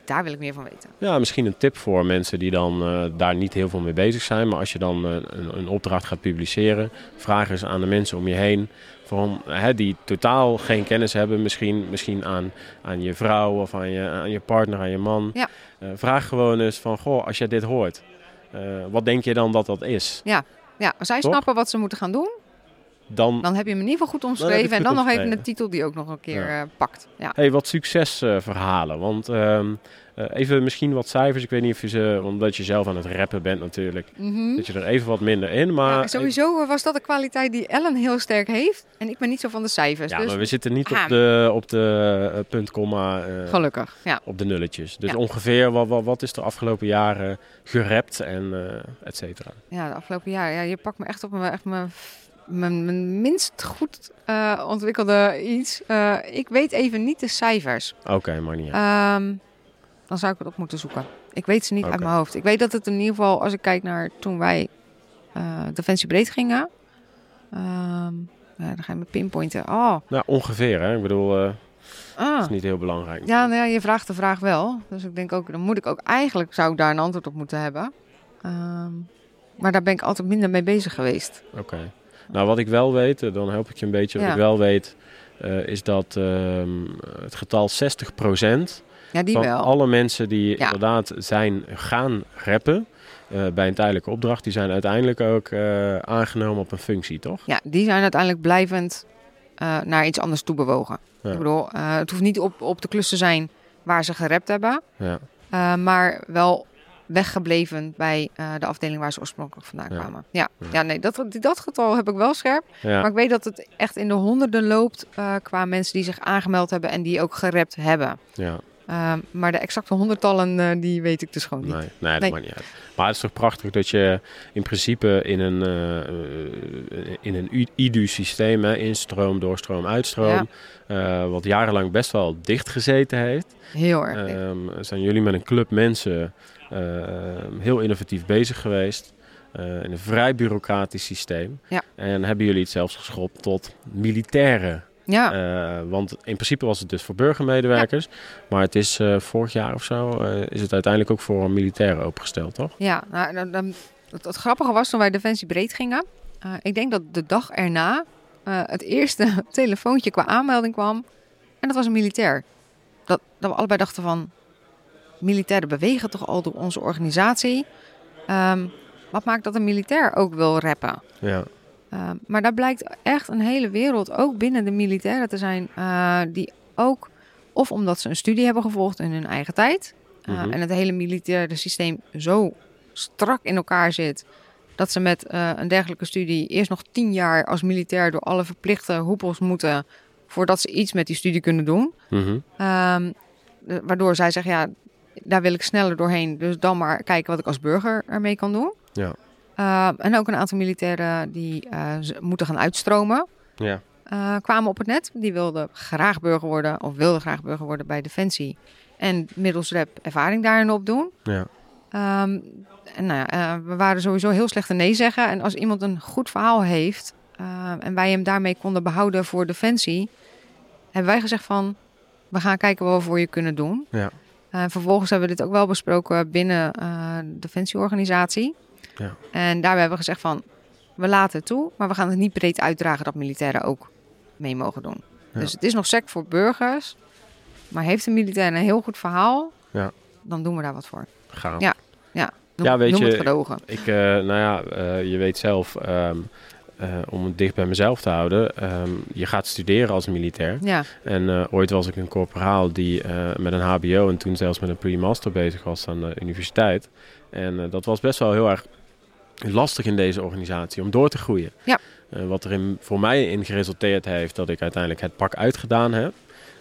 [SPEAKER 3] daar wil ik meer van weten.
[SPEAKER 2] Ja, misschien een tip voor mensen die dan eh, daar niet heel veel mee bezig zijn. Maar als je dan eh, een, een opdracht gaat publiceren, vraag eens aan de mensen om je heen. Van, hè, die totaal geen kennis hebben, misschien, misschien aan, aan je vrouw of aan je, aan je partner, aan je man.
[SPEAKER 3] Ja.
[SPEAKER 2] Eh, vraag gewoon eens van, goh, als jij dit hoort, eh, wat denk je dan dat dat is?
[SPEAKER 3] Ja, als zij
[SPEAKER 2] Toch?
[SPEAKER 3] snappen wat ze moeten gaan doen,
[SPEAKER 2] Dan,
[SPEAKER 3] dan heb je hem in ieder geval goed
[SPEAKER 2] je
[SPEAKER 3] omschreven
[SPEAKER 2] het
[SPEAKER 3] en
[SPEAKER 2] goed
[SPEAKER 3] dan nog even
[SPEAKER 2] omschreven.
[SPEAKER 3] een titel die ook nog een keer
[SPEAKER 2] Ja.
[SPEAKER 3] eh, pakt. Ja.
[SPEAKER 2] hey, wat succesverhalen. want ehm, eh, even misschien wat cijfers. Ik weet niet of je ze, omdat je zelf aan het rappen bent natuurlijk,
[SPEAKER 3] Mhm.
[SPEAKER 2] dat je er even wat minder in.
[SPEAKER 3] Ja,
[SPEAKER 2] Maar
[SPEAKER 3] sowieso eh, was dat een kwaliteit die Ellen heel sterk heeft en ik ben niet zo van de cijfers,
[SPEAKER 2] Ja,
[SPEAKER 3] dus
[SPEAKER 2] maar we zitten niet op
[SPEAKER 3] Ah.
[SPEAKER 2] de, op de eh, punt, komma, eh,
[SPEAKER 3] gelukkig. Ja.
[SPEAKER 2] op de nulletjes. Dus
[SPEAKER 3] Ja.
[SPEAKER 2] ongeveer, wat, wat, wat is de afgelopen jaren gerept en eh, et cetera?
[SPEAKER 3] Ja, de afgelopen jaar. Ja, je pakt me echt op mijn, echt mijn, mijn, mijn minst goed eh, ontwikkelde iets. Eh, ik weet even niet de cijfers.
[SPEAKER 2] Oké, maar niet uit.
[SPEAKER 3] Ehm, dan zou ik het op moeten zoeken. Ik weet ze niet uit
[SPEAKER 2] Oké.
[SPEAKER 3] mijn hoofd. Ik weet dat het in ieder geval, als ik kijk naar toen wij eh, Defensie breed gingen. ehm, ja, dan ga je me pinpointen. Oh,
[SPEAKER 2] Nou, ongeveer, hè. Ik bedoel, eh,
[SPEAKER 3] ah.
[SPEAKER 2] dat is niet heel belangrijk.
[SPEAKER 3] Ja, nou ja, je vraagt de vraag wel. Dus ik denk ook, dan moet ik ook eigenlijk, zou ik daar een antwoord op moeten hebben. Ehm, maar daar ben ik altijd minder mee bezig geweest.
[SPEAKER 2] Oké. Nou, wat ik wel weet, eh, dan help ik je een beetje. Wat
[SPEAKER 3] Ja.
[SPEAKER 2] ik wel weet, eh, is dat ehm, het getal 60%
[SPEAKER 3] Ja, die
[SPEAKER 2] van
[SPEAKER 3] wel.
[SPEAKER 2] alle mensen die
[SPEAKER 3] Ja.
[SPEAKER 2] inderdaad zijn gaan rappen eh, bij een tijdelijke opdracht, die zijn uiteindelijk ook eh, aangenomen op een functie, toch?
[SPEAKER 3] Ja, die zijn uiteindelijk blijvend eh, naar iets anders toe bewogen.
[SPEAKER 2] Ja.
[SPEAKER 3] Ik bedoel, eh, het hoeft niet op, op de klus te zijn waar ze gerept hebben,
[SPEAKER 2] Ja.
[SPEAKER 3] eh, maar wel weggebleven bij eh, de afdeling waar ze oorspronkelijk vandaan
[SPEAKER 2] Ja.
[SPEAKER 3] kwamen. Ja,
[SPEAKER 2] Ja.
[SPEAKER 3] ja. nee, dat, dat getal heb ik wel scherp.
[SPEAKER 2] ja.
[SPEAKER 3] Maar ik weet dat het echt in de honderden loopt eh, qua mensen die zich aangemeld hebben en die ook gerept hebben.
[SPEAKER 2] ja.
[SPEAKER 3] Eh, maar de exacte honderdtallen, eh, die weet ik dus gewoon niet.
[SPEAKER 2] Nee, nee dat
[SPEAKER 3] Nee.
[SPEAKER 2] maakt niet uit. Maar het is toch prachtig dat je in principe in een, eh, eh, in een I- IDU-systeem, hè, instroom, doorstroom, uitstroom, eh, wat jarenlang best wel dicht gezeten heeft,
[SPEAKER 3] Heel erg. dik.
[SPEAKER 2] ehm, zijn jullie met een club mensen eh, heel innovatief bezig geweest. eh, in een vrij bureaucratisch systeem.
[SPEAKER 3] Ja.
[SPEAKER 2] En hebben jullie het zelfs geschopt tot militairen.
[SPEAKER 3] ja,
[SPEAKER 2] Eh, want in principe was het dus voor burgermedewerkers. Maar het is eh, vorig jaar of zo eh, is het uiteindelijk ook voor militairen opengesteld, toch?
[SPEAKER 3] Ja, nou, dan, dan- het, het grappige was toen wij Defensie breed gingen. eh, ik denk dat de dag erna eh, het eerste *laughs* telefoontje qua aanmelding kwam. En dat was een militair. Dat, dat we allebei dachten van... Militairen bewegen toch al door onze organisatie? Ehm, wat maakt dat een militair ook wil rappen?
[SPEAKER 2] Ja,
[SPEAKER 3] Ehm, maar daar blijkt echt een hele wereld, ook binnen de militairen te zijn, eh, die ook, of omdat ze een studie hebben gevolgd in hun eigen tijd, eh,
[SPEAKER 2] Mhm.
[SPEAKER 3] en het hele militaire systeem zo strak in elkaar zit, dat ze met eh, een dergelijke studie eerst nog tien jaar als militair door alle verplichte hoepels moeten, voordat ze iets met die studie kunnen doen.
[SPEAKER 2] Mhm.
[SPEAKER 3] Ehm, de- waardoor zij zeggen, ja, daar wil ik sneller doorheen. Dus dan maar kijken wat ik als burger ermee kan doen.
[SPEAKER 2] Ja.
[SPEAKER 3] Ehm, en ook een aantal militairen die eh, ze- moeten gaan uitstromen.
[SPEAKER 2] ja.
[SPEAKER 3] eh, kwamen op het net. Die wilden graag burger worden of wilden graag burger worden bij Defensie. En middels rep ervaring daarin opdoen.
[SPEAKER 2] ja.
[SPEAKER 3] Ehm, en nou ja, eh, we waren sowieso heel slecht in nee zeggen. En als iemand een goed verhaal heeft eh, en wij hem daarmee konden behouden voor Defensie, hebben wij gezegd van, we gaan kijken wat we voor je kunnen doen.
[SPEAKER 2] Ja.
[SPEAKER 3] Eh, vervolgens hebben we dit ook wel besproken binnen eh, de Defensieorganisatie.
[SPEAKER 2] Ja.
[SPEAKER 3] En daarbij hebben we gezegd van, we laten het toe, maar we gaan het niet breed uitdragen dat militairen ook mee mogen doen.
[SPEAKER 2] Ja.
[SPEAKER 3] Dus het is nog sec voor burgers, maar heeft een militair een heel goed verhaal,
[SPEAKER 2] Ja.
[SPEAKER 3] dan doen we daar wat voor.
[SPEAKER 2] Gaan.
[SPEAKER 3] Noem,
[SPEAKER 2] Ja, weet
[SPEAKER 3] noem
[SPEAKER 2] je,
[SPEAKER 3] het gedogen.
[SPEAKER 2] Ik, eh, nou ja, eh, je weet zelf, ehm, eh, om het dicht bij mezelf te houden, ehm, je gaat studeren als militair.
[SPEAKER 3] Ja,
[SPEAKER 2] En eh, ooit was ik een corporaal die eh, met een HBO en toen zelfs met een pre-master bezig was aan de universiteit. En eh, dat was best wel heel erg lastig in deze organisatie om door te groeien.
[SPEAKER 3] Ja.
[SPEAKER 2] Eh, wat er in, voor mij in geresulteerd heeft dat ik uiteindelijk het pak uitgedaan heb.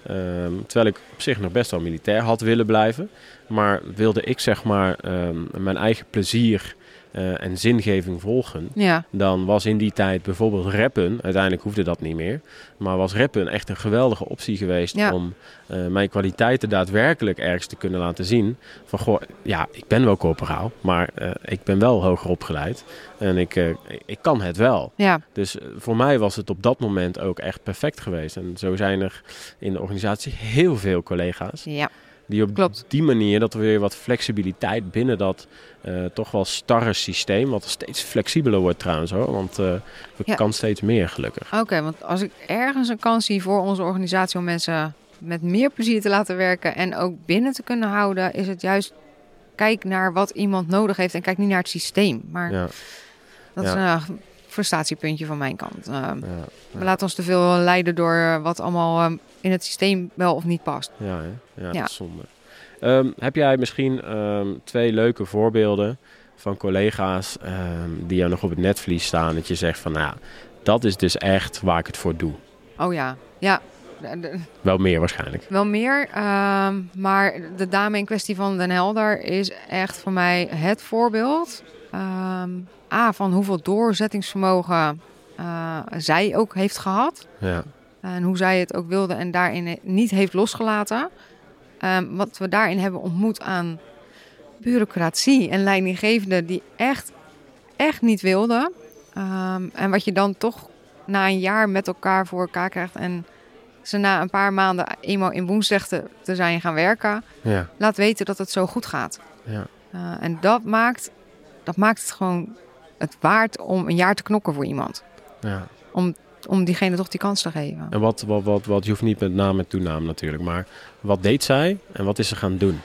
[SPEAKER 2] Ehm, terwijl ik op zich nog best wel militair had willen blijven. Maar wilde ik zeg maar ehm, mijn eigen plezier eh, en zingeving volgen.
[SPEAKER 3] ja,
[SPEAKER 2] Dan was in die tijd bijvoorbeeld rappen, uiteindelijk hoefde dat niet meer. Maar was rappen echt een geweldige optie geweest
[SPEAKER 3] Ja.
[SPEAKER 2] om eh, mijn kwaliteiten daadwerkelijk ergens te kunnen laten zien. Van goh, ja, ik ben wel corporaal, maar eh, ik ben wel hoger opgeleid. En ik, eh, ik kan het wel.
[SPEAKER 3] ja,
[SPEAKER 2] Dus eh, voor mij was het op dat moment ook echt perfect geweest. En zo zijn er in de organisatie heel veel collega's
[SPEAKER 3] ja,
[SPEAKER 2] die op
[SPEAKER 3] Klopt.
[SPEAKER 2] die manier dat er weer wat flexibiliteit binnen dat eh, toch wel starre systeem, wat steeds flexibeler wordt trouwens hoor, want eh, we
[SPEAKER 3] Ja.
[SPEAKER 2] kan steeds meer gelukkig.
[SPEAKER 3] Oké, want als ik ergens een kans zie voor onze organisatie om mensen met meer plezier te laten werken en ook binnen te kunnen houden, is het juist kijk naar wat iemand nodig heeft en kijk niet naar het systeem. Maar
[SPEAKER 2] Ja,
[SPEAKER 3] dat is een eh, frustratiepuntje van mijn kant. Eh,
[SPEAKER 2] ja,
[SPEAKER 3] We laten ons te veel leiden door eh, wat allemaal eh, in het systeem wel of niet past.
[SPEAKER 2] ja, hè? ja, dat
[SPEAKER 3] Ja.
[SPEAKER 2] is zonde. Ehm, heb jij misschien ehm, twee leuke voorbeelden van collega's ehm, die jou nog op het netvlies staan, dat je zegt van nou, ja, dat is dus echt waar ik het voor doe.
[SPEAKER 3] Oh ja, ja. De- de-
[SPEAKER 2] Wel meer waarschijnlijk.
[SPEAKER 3] Wel meer, ehm, maar de dame in kwestie van Den Helder is echt voor mij het voorbeeld. Ehm, A, van hoeveel doorzettingsvermogen eh, zij ook heeft gehad.
[SPEAKER 2] Ja,
[SPEAKER 3] Eh, En hoe zij het ook wilde en daarin niet heeft losgelaten. Ehm, wat we daarin hebben ontmoet aan bureaucratie en leidinggevenden die echt, echt niet wilden. Ehm, en wat je dan toch na een jaar met elkaar voor elkaar krijgt. En ze na een paar maanden eenmaal in woensdag te, te zijn gaan werken.
[SPEAKER 2] ja,
[SPEAKER 3] Laat weten dat het zo goed gaat.
[SPEAKER 2] ja.
[SPEAKER 3] Eh, en dat maakt, dat maakt het gewoon het waard om een jaar te knokken voor iemand.
[SPEAKER 2] ja.
[SPEAKER 3] Om diegene toch die kans te geven.
[SPEAKER 2] En wat, wat, wat, wat, je hoeft niet met naam en toenaam natuurlijk, maar wat deed zij en wat is ze gaan doen?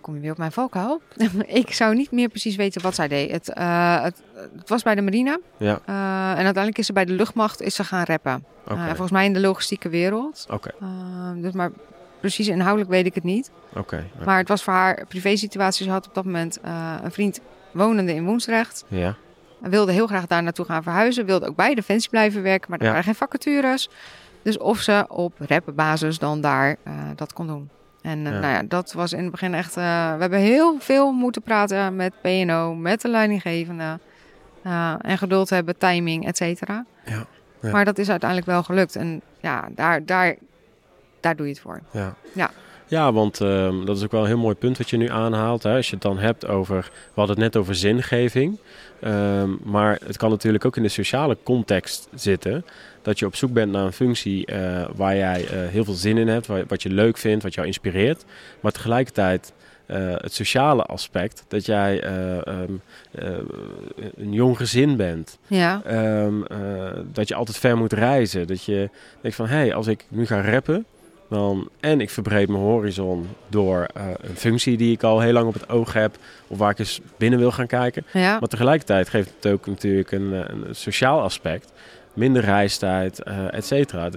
[SPEAKER 3] kom je weer op mijn valkuil. *laughs* ik zou niet meer precies weten wat zij deed. Het, eh, het, het was bij de marine.
[SPEAKER 2] Ja,
[SPEAKER 3] eh, en uiteindelijk is ze bij de luchtmacht is ze gaan rappen.
[SPEAKER 2] oké.
[SPEAKER 3] Eh, volgens mij in de logistieke wereld.
[SPEAKER 2] Oké,
[SPEAKER 3] Eh, dus maar precies inhoudelijk weet ik het niet.
[SPEAKER 2] oké.
[SPEAKER 3] Maar het was voor haar privé situatie. Ze had op dat moment eh, een vriend wonende in Woensrecht.
[SPEAKER 2] Ja,
[SPEAKER 3] Wilde heel graag daar naartoe gaan verhuizen. Wilde ook bij Defensie blijven werken. Maar daar
[SPEAKER 2] Ja.
[SPEAKER 3] waren geen vacatures. Dus of ze op rappenbasis dan daar eh, dat kon doen. En eh,
[SPEAKER 2] Ja.
[SPEAKER 3] nou ja, dat was in het begin echt... eh, we hebben heel veel moeten praten met PNO, met de leidinggevende. eh, en geduld hebben, timing, et cetera.
[SPEAKER 2] Ja, ja.
[SPEAKER 3] Maar dat is uiteindelijk wel gelukt. En ja, daar, daar, daar doe je het voor.
[SPEAKER 2] ja.
[SPEAKER 3] Ja.
[SPEAKER 2] Ja, want ehm, dat is ook wel een heel mooi punt wat je nu aanhaalt. Hè? Als je het dan hebt over, we hadden het net over zingeving. ehm, maar het kan natuurlijk ook in de sociale context zitten. Dat je op zoek bent naar een functie eh, waar jij eh, heel veel zin in hebt. Waar, wat je leuk vindt, wat jou inspireert. Maar tegelijkertijd eh, het sociale aspect. Dat jij eh, ehm, eh, een jong gezin bent.
[SPEAKER 3] Ja,
[SPEAKER 2] Ehm, eh, dat je altijd ver moet reizen. Dat je denkt van, hé, hey, als ik nu ga rappen... Dan, en ik verbreed mijn horizon door eh, een functie die ik al heel lang op het oog heb... of waar ik eens binnen wil gaan kijken.
[SPEAKER 3] ja.
[SPEAKER 2] Maar tegelijkertijd geeft het ook natuurlijk een, eh, een sociaal aspect. Minder reistijd, eh et cetera.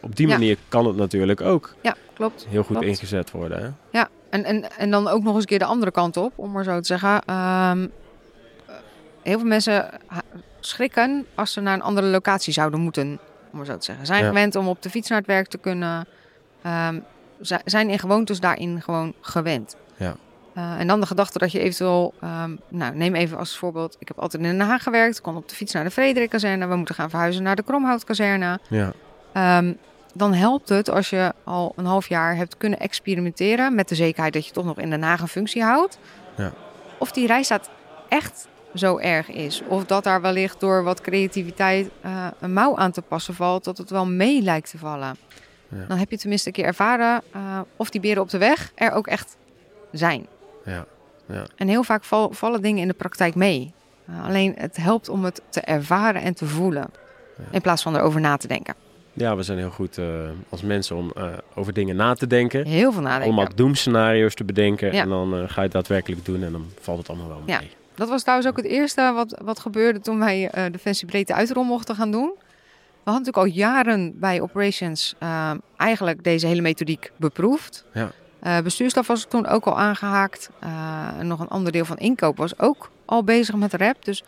[SPEAKER 2] Op die
[SPEAKER 3] Ja.
[SPEAKER 2] manier kan het natuurlijk ook
[SPEAKER 3] ja klopt.
[SPEAKER 2] heel goed
[SPEAKER 3] Klopt.
[SPEAKER 2] ingezet worden. Hè?
[SPEAKER 3] Ja, en, en, en dan ook nog eens een keer de andere kant op, om maar zo te zeggen. Ehm, heel veel mensen ha- schrikken als ze naar een andere locatie zouden moeten, om maar zo te zeggen. Zijn
[SPEAKER 2] Ja.
[SPEAKER 3] gewend om op de fiets naar het werk te kunnen. Ehm, zi- zijn in gewoontes daarin gewoon gewend.
[SPEAKER 2] Ja.
[SPEAKER 3] Eh, en dan de gedachte dat je eventueel, ehm, nou neem even als voorbeeld, ik heb altijd in Den Haag gewerkt, kon op de fiets naar de Frederik-kazerne, we moeten gaan verhuizen naar de Kromhout-kazerne.
[SPEAKER 2] Ja,
[SPEAKER 3] Ehm, dan helpt het als je al een half jaar hebt kunnen experimenteren met de zekerheid dat je toch nog in Den Haag een functie houdt.
[SPEAKER 2] Ja.
[SPEAKER 3] Of die rijstaat echt zo erg is. Of dat daar wellicht door wat creativiteit eh, een mouw aan te passen valt, dat het wel mee lijkt te vallen.
[SPEAKER 2] Ja.
[SPEAKER 3] Dan heb je tenminste een keer ervaren eh, of die beren op de weg er ook echt zijn.
[SPEAKER 2] Ja.
[SPEAKER 3] En heel vaak val- vallen dingen in de praktijk mee. Uh, alleen het helpt om het te ervaren en te voelen. In plaats van erover na te denken.
[SPEAKER 2] ja, we zijn heel goed eh, als mensen om eh, over dingen na te denken.
[SPEAKER 3] Heel veel nadenken.
[SPEAKER 2] Allemaal doemscenario's te bedenken.
[SPEAKER 3] Ah, Ja.
[SPEAKER 2] En dan eh, ga je het daadwerkelijk doen en dan valt het allemaal wel mee.
[SPEAKER 3] Ja. Dat was trouwens ook het eerste wat, wat gebeurde toen wij eh de Fancy Breedte uitrom mochten gaan doen. We hadden natuurlijk al jaren bij operations eh, eigenlijk deze hele methodiek beproefd.
[SPEAKER 2] Ja.
[SPEAKER 3] Eh, bestuurstaf was toen ook al aangehaakt. Eh, en nog een ander deel van inkoop was ook al bezig met rap. Dus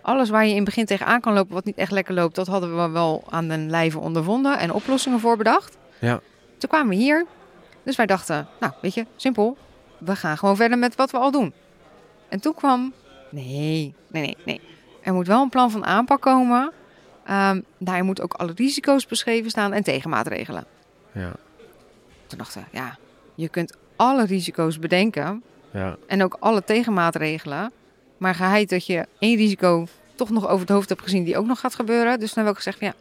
[SPEAKER 3] alles waar je in het begin tegenaan kan lopen wat niet echt lekker loopt, dat hadden we wel aan den lijve ondervonden en oplossingen voor bedacht.
[SPEAKER 2] Ja.
[SPEAKER 3] Toen kwamen we hier. Dus wij dachten, nou weet je, simpel. We gaan gewoon verder met wat we al doen. En toen kwam, nee, nee, nee, nee. Er moet wel een plan van aanpak komen. Ehm daarin moeten ook alle risico's beschreven staan en tegenmaatregelen.
[SPEAKER 2] Ja.
[SPEAKER 3] Toen dachten we, ja, je kunt alle risico's bedenken
[SPEAKER 2] Ja.
[SPEAKER 3] en ook alle tegenmaatregelen. Maar geheid dat je één risico toch nog over het hoofd hebt gezien die ook nog gaat gebeuren. Dus dan hebben we ook gezegd, ja,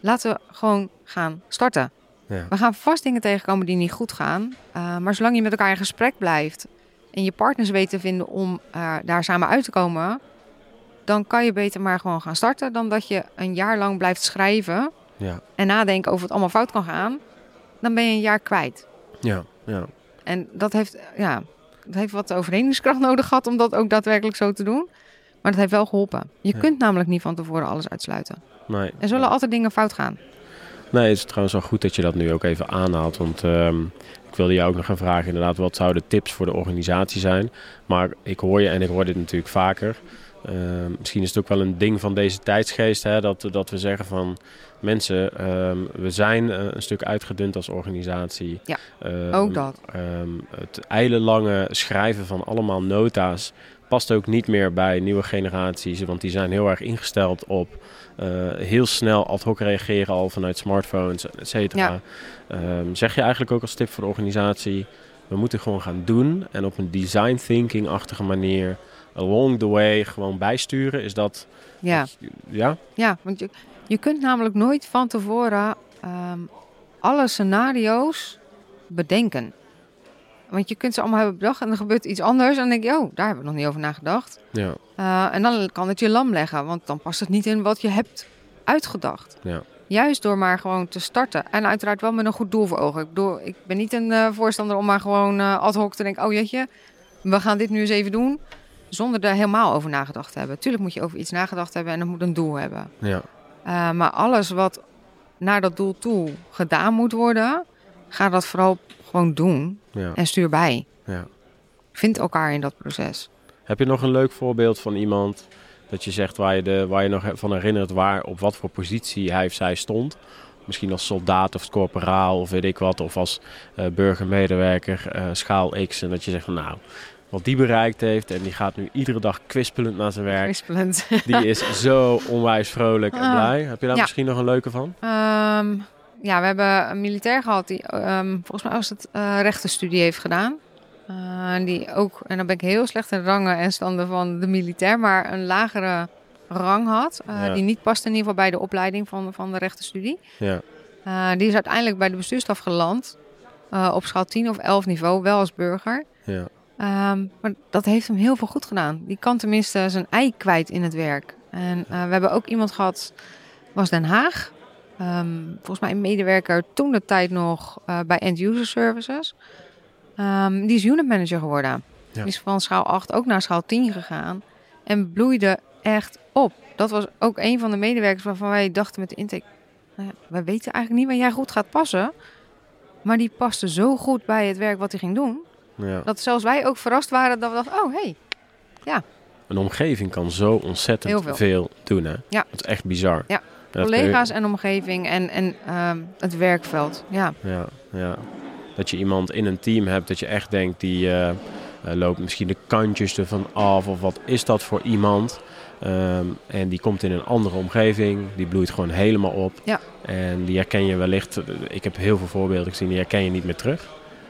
[SPEAKER 3] laten we gewoon gaan starten.
[SPEAKER 2] Ja.
[SPEAKER 3] We gaan vast dingen tegenkomen die niet goed gaan. eh, maar zolang je met elkaar in gesprek blijft en je partners weet te vinden om eh, daar samen uit te komen, dan kan je beter maar gewoon gaan starten dan dat je een jaar lang blijft schrijven
[SPEAKER 2] Ja.
[SPEAKER 3] en nadenken over wat allemaal fout kan gaan. Dan ben je een jaar kwijt.
[SPEAKER 2] Ja. Ja.
[SPEAKER 3] En dat heeft, ja, dat heeft wat overredingskracht *laughs* nodig gehad om dat ook daadwerkelijk zo te doen. Maar dat heeft wel geholpen. Je
[SPEAKER 2] Ja.
[SPEAKER 3] kunt namelijk niet van tevoren alles uitsluiten.
[SPEAKER 2] Nee.
[SPEAKER 3] Er zullen altijd dingen fout gaan.
[SPEAKER 2] Nee, het is trouwens wel goed dat je dat nu ook even aanhaalt. Want ehm, ik wilde jou ook nog gaan vragen, inderdaad, wat zouden tips voor de organisatie zijn? Maar ik hoor je en ik hoor dit natuurlijk vaker. Ehm, misschien is het ook wel een ding van deze tijdsgeest, hè, dat, dat we zeggen van mensen, ehm, we zijn eh, een stuk uitgedund als organisatie.
[SPEAKER 3] Ja,
[SPEAKER 2] Ehm,
[SPEAKER 3] ook dat.
[SPEAKER 2] ehm, het eilenlange schrijven van allemaal nota's past ook niet meer bij nieuwe generaties, want die zijn heel erg ingesteld op eh, heel snel ad hoc reageren al vanuit smartphones, et cetera.
[SPEAKER 3] Ja.
[SPEAKER 2] Ehm, zeg je eigenlijk ook als tip voor de organisatie, we moeten gewoon gaan doen en op een design thinking-achtige manier along the way gewoon bijsturen. Is dat...
[SPEAKER 3] Ja.
[SPEAKER 2] Ja?
[SPEAKER 3] Ja, want je, je kunt namelijk nooit van tevoren ehm, alle scenario's bedenken. Want je kunt ze allemaal hebben bedacht en dan gebeurt iets anders. En dan denk je, oh, daar hebben we nog niet over nagedacht.
[SPEAKER 2] Ja.
[SPEAKER 3] Eh, en dan kan het je lam leggen, want dan past het niet in wat je hebt uitgedacht.
[SPEAKER 2] Ja.
[SPEAKER 3] Juist door maar gewoon te starten. En uiteraard wel met een goed doel voor ogen. Ik, bedoel, ik ben niet een eh, voorstander om maar gewoon eh, ad hoc te denken... oh jeetje, we gaan dit nu eens even doen. Zonder er helemaal over nagedacht te hebben. Tuurlijk moet je over iets nagedacht hebben en dat moet een doel hebben.
[SPEAKER 2] Ja.
[SPEAKER 3] Uh, maar alles wat naar dat doel toe gedaan moet worden, ga dat vooral gewoon doen
[SPEAKER 2] ja.
[SPEAKER 3] en stuur bij.
[SPEAKER 2] Ja.
[SPEAKER 3] Vind elkaar in dat proces.
[SPEAKER 2] Heb je nog een leuk voorbeeld van iemand dat je zegt waar je, de, waar je nog van herinnert waar op wat voor positie hij of zij stond? Misschien als soldaat of corporaal of weet ik wat, of als eh, burgermedewerker, eh, schaal X. En dat je zegt van nou, wat die bereikt heeft en die gaat nu iedere dag kwispelend naar zijn
[SPEAKER 3] *laughs*
[SPEAKER 2] werk.
[SPEAKER 3] Crispelend.
[SPEAKER 2] Die is zo onwijs vrolijk en
[SPEAKER 3] Ah.
[SPEAKER 2] blij. Heb je daar
[SPEAKER 3] Ja.
[SPEAKER 2] misschien nog een leuke van?
[SPEAKER 3] Ehm, ja, we hebben een militair gehad die ehm, volgens mij als het eh, rechtenstudie heeft gedaan. Eh, en die ook, en dan ben ik heel slecht in rangen en standen van de militair, maar een lagere rang had. eh,
[SPEAKER 2] Ja.
[SPEAKER 3] Die niet past in ieder geval bij de opleiding van, van de rechtenstudie.
[SPEAKER 2] Ja,
[SPEAKER 3] Eh, die is uiteindelijk bij de bestuurstaf geland. eh, op schaal 10 of 11 niveau, wel als burger.
[SPEAKER 2] ja,
[SPEAKER 3] Ehm, maar dat heeft hem heel veel goed gedaan. Die kan tenminste zijn ei kwijt in het werk. En eh, we hebben ook iemand gehad, was Den Haag. Ehm, volgens mij een medewerker toen de tijd nog eh, bij End User Services. Ehm, die is unit manager geworden.
[SPEAKER 2] Ja.
[SPEAKER 3] Die is van schaal 8 ook naar schaal 10 gegaan. En bloeide echt op. Dat was ook een van de medewerkers waarvan wij dachten met de intake... Nou ja, we weten eigenlijk niet waar jij goed gaat passen. Maar die paste zo goed bij het werk wat hij ging doen...
[SPEAKER 2] ja.
[SPEAKER 3] Dat zelfs wij ook verrast waren dat we dachten, oh hey.
[SPEAKER 2] Een omgeving kan zo ontzettend
[SPEAKER 3] Heel
[SPEAKER 2] veel.
[SPEAKER 3] veel.
[SPEAKER 2] doen, hè?
[SPEAKER 3] Ja.
[SPEAKER 2] Dat is echt bizar.
[SPEAKER 3] Ja.
[SPEAKER 2] En dat kun je-
[SPEAKER 3] collega's en omgeving en, en ehm, het werkveld. Ja,
[SPEAKER 2] Ja, ja. Dat je iemand in een team hebt dat je echt denkt, die eh, eh, loopt misschien de kantjes ervan af. Of wat is dat voor iemand? Ehm, en die komt in een andere omgeving. Die bloeit gewoon helemaal op.
[SPEAKER 3] Ja.
[SPEAKER 2] En die herken je wellicht. eh, Ik heb heel veel voorbeelden gezien. Die herken je niet meer terug.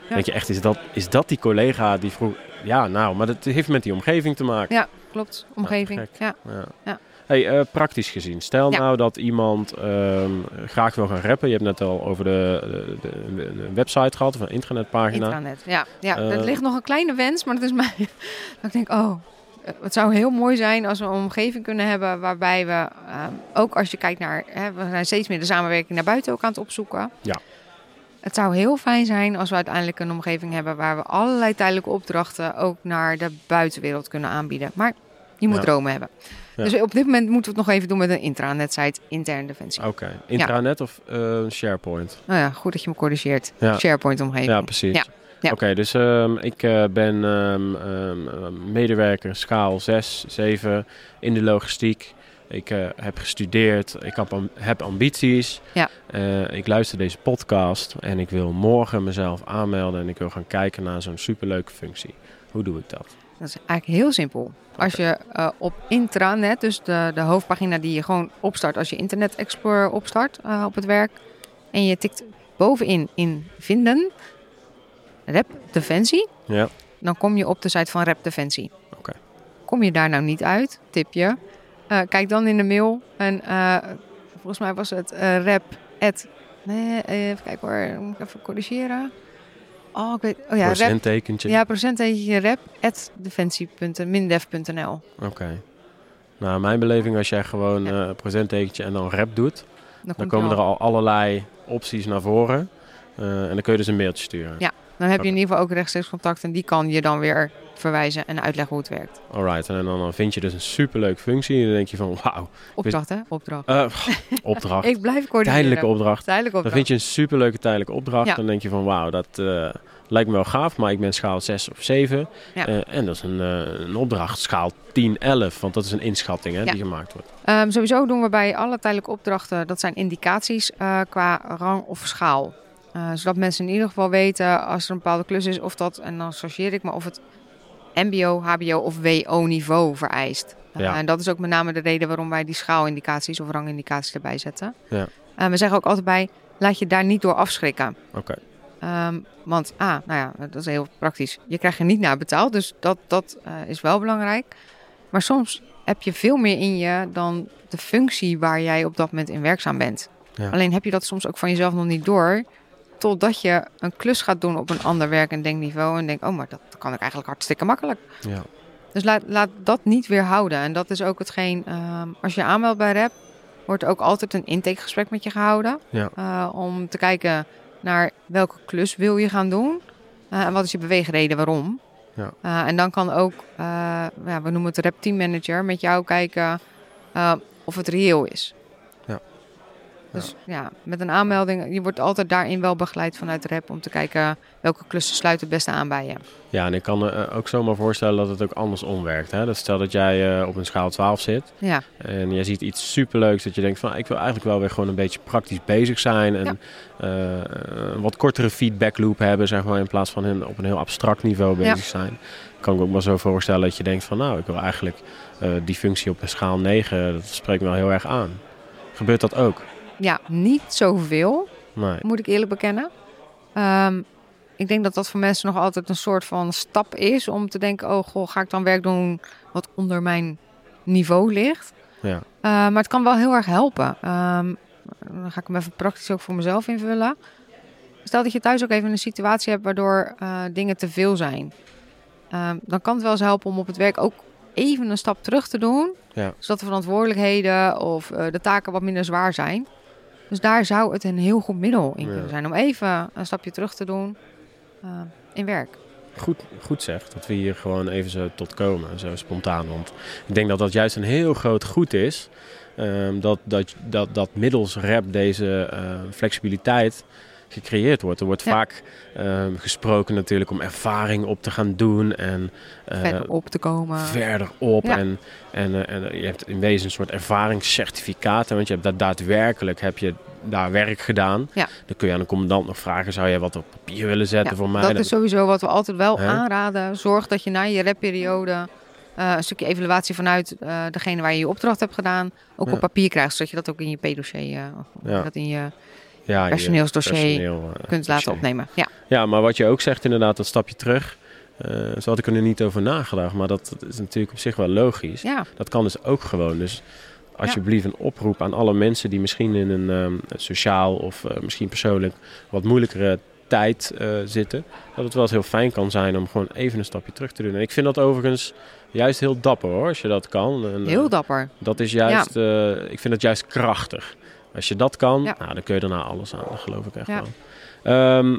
[SPEAKER 3] Ja.
[SPEAKER 2] Denk je echt, is dat, is dat die collega die vroeg... Ja, nou, maar dat heeft met die omgeving te maken.
[SPEAKER 3] Ja, klopt. Omgeving.
[SPEAKER 2] gek.
[SPEAKER 3] ja.
[SPEAKER 2] Ja.
[SPEAKER 3] Ja.
[SPEAKER 2] Hey, eh, praktisch gezien, stel
[SPEAKER 3] Ja.
[SPEAKER 2] nou dat iemand ehm, graag wil gaan rappen. Je hebt net al over de, de, de- een website gehad of een internetpagina.
[SPEAKER 3] Intranet. Ja, ja
[SPEAKER 2] Eh,
[SPEAKER 3] dat ligt nog een kleine wens, maar dat is *laughs* mij. dat ik denk, oh, eh, het zou heel mooi zijn als we een omgeving kunnen hebben waarbij we, eh, ook als je kijkt naar, hè, we zijn steeds meer de samenwerking naar buiten ook aan het opzoeken.
[SPEAKER 2] Ja.
[SPEAKER 3] Het zou heel fijn zijn als we uiteindelijk een omgeving hebben waar we allerlei tijdelijke opdrachten ook naar de buitenwereld kunnen aanbieden. Maar je moet
[SPEAKER 2] Ja.
[SPEAKER 3] dromen hebben.
[SPEAKER 2] Ja.
[SPEAKER 3] Dus op dit moment moeten we het nog even doen met een intranet-site, interne defensie.
[SPEAKER 2] Oké, intranet of eh, SharePoint?
[SPEAKER 3] Nou ja, goed dat je me corrigeert.
[SPEAKER 2] Ja.
[SPEAKER 3] SharePoint-omgeving.
[SPEAKER 2] Ja, precies.
[SPEAKER 3] Ja, ja.
[SPEAKER 2] Oké, dus ehm, ik eh, ben ehm, ehm, ehm, medewerker schaal 6, 7 in de logistiek. Ik eh, heb gestudeerd, ik heb, am- heb ambities.
[SPEAKER 3] Ja.
[SPEAKER 2] Eh, ik luister deze podcast en ik wil morgen mezelf aanmelden en ik wil gaan kijken naar zo'n superleuke functie. Hoe doe ik dat?
[SPEAKER 3] Dat is eigenlijk heel simpel. Als je eh, op intranet, dus de, de hoofdpagina die je gewoon opstart als je Internet Explorer opstart eh, op het werk. En je tikt bovenin in vinden, Rep Defensie.
[SPEAKER 2] Ja,
[SPEAKER 3] Dan kom je op de site van Rep Defensie.
[SPEAKER 2] Oké.
[SPEAKER 3] Kom je daar nou niet uit, tip je. eh, kijk dan in de mail. En eh, volgens mij was het eh, rep. at- nee, eh, even kijken hoor, moet ik even corrigeren. Oh, ik weet. Oh ja, rep.
[SPEAKER 2] procentekentje.
[SPEAKER 3] Ja, procentetje rep at defensie.mindef.nl.
[SPEAKER 2] Oké. Nou, in mijn beleving, als jij gewoon
[SPEAKER 3] Ja.
[SPEAKER 2] eh procentekentje en dan rap doet,
[SPEAKER 3] Dan,
[SPEAKER 2] dan
[SPEAKER 3] komt
[SPEAKER 2] komen
[SPEAKER 3] hij
[SPEAKER 2] er al allerlei opties naar voren. Eh, en dan kun je dus een mailtje sturen.
[SPEAKER 3] Dan heb je in ieder geval ook rechtstreeks contact en die kan je dan weer verwijzen en uitleggen hoe het werkt.
[SPEAKER 2] Alright, en dan, dan vind je dus een superleuk functie. En dan denk je van, wauw,
[SPEAKER 3] Opdracht, hè? Opdracht.
[SPEAKER 2] eh,
[SPEAKER 3] *laughs*
[SPEAKER 2] opdracht,
[SPEAKER 3] Ik blijf coördineren.
[SPEAKER 2] tijdelijke opdracht.
[SPEAKER 3] Tijdelijke
[SPEAKER 2] Dan
[SPEAKER 3] opdracht.
[SPEAKER 2] vind je een superleuke tijdelijke opdracht.
[SPEAKER 3] Ja.
[SPEAKER 2] Dan denk je van, wauw, dat eh, lijkt me wel gaaf, maar ik ben schaal 6 of 7.
[SPEAKER 3] Ja.
[SPEAKER 2] Eh, en dat is een, eh, een opdracht, schaal 10, 11, want dat is een inschatting hè,
[SPEAKER 3] Ja.
[SPEAKER 2] die gemaakt wordt.
[SPEAKER 3] Ehm, sowieso doen we bij alle tijdelijke opdrachten, dat zijn indicaties eh, qua rang of schaal. Eh, zodat mensen in ieder geval weten als er een bepaalde klus is of dat, en dan sorgeer ik me of het MBO, HBO of WO niveau vereist. Eh,
[SPEAKER 2] Ja.
[SPEAKER 3] en dat is ook met name de reden waarom wij die schaalindicaties of rangindicaties erbij zetten.
[SPEAKER 2] Ja.
[SPEAKER 3] Eh, we zeggen ook altijd bij, laat je daar niet door afschrikken.
[SPEAKER 2] Oké,
[SPEAKER 3] Ehm, want, ah, nou ja, dat is heel praktisch. Je krijgt er niet naar betaald, dus dat, dat eh, is wel belangrijk. Maar soms heb je veel meer in je dan de functie waar jij op dat moment in werkzaam bent.
[SPEAKER 2] Ja.
[SPEAKER 3] Alleen heb je dat soms ook van jezelf nog niet door. Totdat je een klus gaat doen op een ander werk en denkniveau. En denkt, oh, maar dat kan ik eigenlijk hartstikke makkelijk.
[SPEAKER 2] ja.
[SPEAKER 3] Dus laat, laat dat niet weerhouden. En dat is ook hetgeen, ehm, als je aanmeldt bij REP, wordt ook altijd een intakegesprek met je gehouden.
[SPEAKER 2] Ja.
[SPEAKER 3] Eh, om te kijken naar welke klus wil je gaan doen. eh, en wat is je beweegreden waarom.
[SPEAKER 2] Ja.
[SPEAKER 3] Eh, en dan kan ook, eh, ja, we noemen het REP Team Manager, met jou kijken eh, of het reëel is.
[SPEAKER 2] Ja.
[SPEAKER 3] Dus ja, met een aanmelding, je wordt altijd daarin wel begeleid vanuit REP om te kijken welke klussen sluiten het beste aan bij je.
[SPEAKER 2] Ja, en ik kan me eh, ook zomaar voorstellen dat het ook andersom werkt. Hè? Dat stel dat jij eh, op een schaal 12 zit
[SPEAKER 3] Ja.
[SPEAKER 2] en jij ziet iets superleuks dat je denkt van ah, ik wil eigenlijk wel weer gewoon een beetje praktisch bezig zijn en
[SPEAKER 3] Ja.
[SPEAKER 2] eh, een wat kortere feedback loop hebben zeg maar in plaats van een- op een heel abstract niveau
[SPEAKER 3] Ja.
[SPEAKER 2] bezig zijn. Kan ik me ook wel zo voorstellen dat je denkt van nou ik wil eigenlijk eh, die functie op een schaal 9, dat spreekt me wel heel erg aan. Gebeurt dat ook?
[SPEAKER 3] Ja, niet zoveel,
[SPEAKER 2] Nee.
[SPEAKER 3] moet ik eerlijk bekennen. Ehm, ik denk dat dat voor mensen nog altijd een soort van stap is om te denken: oh, goh, ga ik dan werk doen wat onder mijn niveau ligt?
[SPEAKER 2] Ja.
[SPEAKER 3] Eh, maar het kan wel heel erg helpen. Ehm, dan ga ik hem even praktisch ook voor mezelf invullen. Stel dat je thuis ook even een situatie hebt waardoor eh, dingen te veel zijn. Ehm, dan kan het wel eens helpen om op het werk ook even een stap terug te doen.
[SPEAKER 2] Ja.
[SPEAKER 3] Zodat de verantwoordelijkheden of eh, de taken wat minder zwaar zijn. Dus daar zou het een heel goed middel in
[SPEAKER 2] Ja.
[SPEAKER 3] kunnen zijn. Om even een stapje terug te doen eh, in werk.
[SPEAKER 2] Goed, goed zeg, dat we hier gewoon even zo tot komen, zo spontaan. Want ik denk dat dat juist een heel groot goed is. ehm, dat, dat, dat, dat middels rap deze eh, flexibiliteit gecreëerd wordt. Er wordt
[SPEAKER 3] Ja.
[SPEAKER 2] vaak ehm, gesproken natuurlijk om ervaring op te gaan doen en eh,
[SPEAKER 3] Verder op te komen.
[SPEAKER 2] verder op.
[SPEAKER 3] Ja.
[SPEAKER 2] En, en, eh, en je hebt in wezen een soort ervaringscertificaat. hè, Want je hebt dat daadwerkelijk heb je daar werk gedaan.
[SPEAKER 3] Ja.
[SPEAKER 2] Dan kun je aan de commandant nog vragen, zou jij wat op papier willen zetten
[SPEAKER 3] Ja,
[SPEAKER 2] voor mij?
[SPEAKER 3] Dat
[SPEAKER 2] Dan-
[SPEAKER 3] is sowieso wat we altijd wel
[SPEAKER 2] Hè?
[SPEAKER 3] aanraden. Zorg dat je na je repperiode eh, een stukje evaluatie vanuit eh, degene waar je je opdracht hebt gedaan, ook
[SPEAKER 2] Ja.
[SPEAKER 3] op papier krijgt, zodat je dat ook in je p-dossier, eh, of hoe
[SPEAKER 2] Ja.
[SPEAKER 3] je dat in je
[SPEAKER 2] Ja, je
[SPEAKER 3] personeelsdossier
[SPEAKER 2] personeel, eh,
[SPEAKER 3] kunt laten
[SPEAKER 2] dossier.
[SPEAKER 3] opnemen. Ja,
[SPEAKER 2] Ja, maar wat je ook zegt, inderdaad, dat stapje terug. eh, zo had ik er nu niet over nagedacht, maar dat, dat is natuurlijk op zich wel logisch.
[SPEAKER 3] ja,
[SPEAKER 2] Dat kan dus ook gewoon. Dus alsjeblieft een oproep aan alle mensen die misschien in een ehm, sociaal of eh, misschien persoonlijk wat moeilijkere tijd eh, zitten. Dat het wel eens heel fijn kan zijn om gewoon even een stapje terug te doen. En ik vind dat overigens juist heel dapper hoor, als je dat kan. En, eh,
[SPEAKER 3] heel dapper.
[SPEAKER 2] dat is juist, eh, ik vind dat juist krachtig. Als je dat kan,
[SPEAKER 3] Ja.
[SPEAKER 2] nou, dan kun je daarna alles aan. Dat geloof ik echt
[SPEAKER 3] Ja.
[SPEAKER 2] wel. Ehm,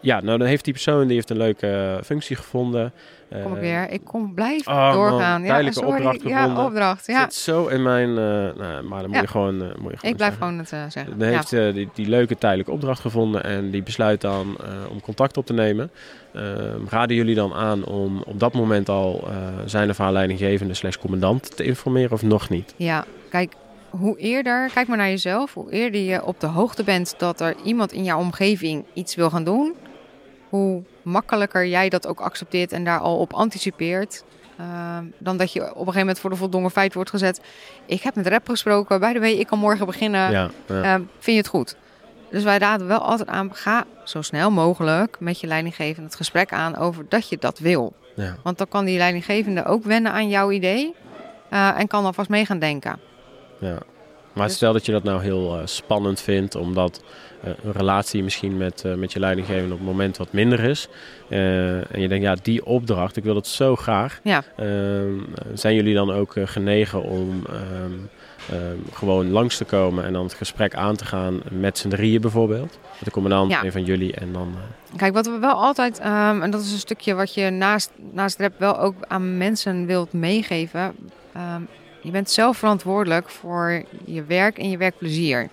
[SPEAKER 2] ja, nou dan heeft die persoon die heeft een leuke eh, functie gevonden.
[SPEAKER 3] Kom ik
[SPEAKER 2] Eh,
[SPEAKER 3] weer. Ik kom blijf
[SPEAKER 2] oh man,
[SPEAKER 3] doorgaan. ja,
[SPEAKER 2] tijdelijke
[SPEAKER 3] sorry.
[SPEAKER 2] opdracht
[SPEAKER 3] ja,
[SPEAKER 2] gevonden.
[SPEAKER 3] opdracht.
[SPEAKER 2] Ja.
[SPEAKER 3] Ja,
[SPEAKER 2] Zit zo in mijn... eh, nou, maar dan moet,
[SPEAKER 3] Ja.
[SPEAKER 2] je gewoon, eh, moet je gewoon
[SPEAKER 3] ik blijf
[SPEAKER 2] zeggen.
[SPEAKER 3] gewoon het eh, zeggen.
[SPEAKER 2] Dan
[SPEAKER 3] Ja.
[SPEAKER 2] heeft eh, die, die leuke tijdelijke opdracht gevonden en die besluit dan eh, om contact op te nemen. Ehm, raden jullie dan aan om op dat moment al eh, zijn of haar leidinggevende slash commandant te informeren of nog niet?
[SPEAKER 3] Ja, kijk, hoe eerder, kijk maar naar jezelf, hoe eerder je op de hoogte bent dat er iemand in jouw omgeving iets wil gaan doen, hoe makkelijker jij dat ook accepteert en daar al op anticipeert. ehm, dan dat je op een gegeven moment voor de voldongen feit wordt gezet. Ik heb met rep gesproken, by the way, ik kan morgen beginnen.
[SPEAKER 2] ja, ja.
[SPEAKER 3] Ehm, vind je het goed? Dus wij raden wel altijd aan, ga zo snel mogelijk met je leidinggevende het gesprek aan over dat je dat wil.
[SPEAKER 2] ja.
[SPEAKER 3] Want dan kan die leidinggevende ook wennen aan jouw idee eh, en kan alvast mee gaan denken.
[SPEAKER 2] Ja. Maar
[SPEAKER 3] Dus-
[SPEAKER 2] stel dat je dat nou heel eh, spannend vindt, omdat eh, een relatie misschien met, eh, met je leidinggevende op het moment wat minder is. eh, en je denkt, ja, die opdracht, ik wil dat zo graag.
[SPEAKER 3] Ja.
[SPEAKER 2] Ehm, zijn jullie dan ook eh, genegen om ehm, ehm, gewoon langs te komen en dan het gesprek aan te gaan met z'n drieën bijvoorbeeld? Met de commandant,
[SPEAKER 3] Ja.
[SPEAKER 2] een van jullie en dan... eh,
[SPEAKER 3] Kijk, wat we wel altijd, ehm, en dat is een stukje wat je naast, naast rep wel ook aan mensen wilt meegeven. ehm, je bent zelf verantwoordelijk voor je werk en je werkplezier.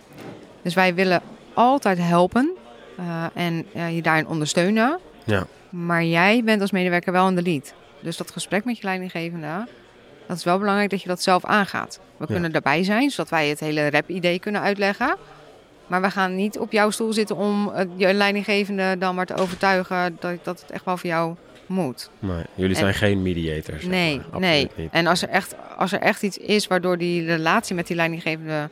[SPEAKER 3] Dus wij willen altijd helpen eh, en eh, je daarin ondersteunen.
[SPEAKER 2] Ja.
[SPEAKER 3] Maar jij bent als medewerker wel in de lead. Dus dat gesprek met je leidinggevende, dat is wel belangrijk dat je dat zelf aangaat. We
[SPEAKER 2] Ja.
[SPEAKER 3] kunnen daarbij zijn, zodat wij het hele rep-idee kunnen uitleggen. Maar we gaan niet op jouw stoel zitten om eh, je leidinggevende dan maar te overtuigen dat, dat het echt wel voor jou moet.
[SPEAKER 2] nee, nou jullie zijn
[SPEAKER 3] En-
[SPEAKER 2] geen mediators. zeg
[SPEAKER 3] Nee,
[SPEAKER 2] maar.
[SPEAKER 3] nee.
[SPEAKER 2] Absoluut niet.
[SPEAKER 3] En als er, echt, als er echt iets is waardoor die relatie met die leidinggevende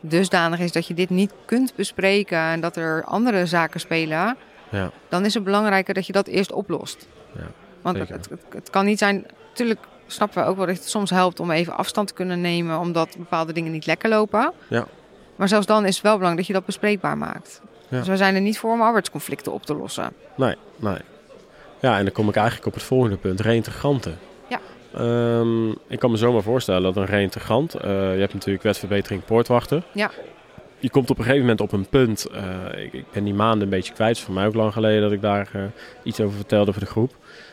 [SPEAKER 3] dusdanig is dat je dit niet kunt bespreken en dat er andere zaken spelen,
[SPEAKER 2] Ja.
[SPEAKER 3] dan is het belangrijker dat je dat eerst oplost.
[SPEAKER 2] Ja,
[SPEAKER 3] Want het,
[SPEAKER 2] zeker.
[SPEAKER 3] het, het- het kan niet zijn. Tuurlijk snappen we ook wel dat het soms helpt om even afstand te kunnen nemen omdat bepaalde dingen niet lekker lopen.
[SPEAKER 2] Ja.
[SPEAKER 3] Maar zelfs dan is het wel belangrijk dat je dat bespreekbaar maakt.
[SPEAKER 2] Ja.
[SPEAKER 3] Dus we zijn er niet voor om arbeidsconflicten op te lossen.
[SPEAKER 2] Nee, nee. Ja, en dan kom ik eigenlijk op het volgende punt, reintegranten.
[SPEAKER 3] Ja.
[SPEAKER 2] Ehm, ik kan me zomaar voorstellen dat een reintegrant, eh, je hebt natuurlijk wetverbetering poortwachter.
[SPEAKER 3] Ja.
[SPEAKER 2] Je komt op een gegeven moment op een punt, eh, ik, ik ben die maanden een beetje kwijt, het is voor mij ook lang geleden dat ik daar eh, iets over vertelde voor de groep.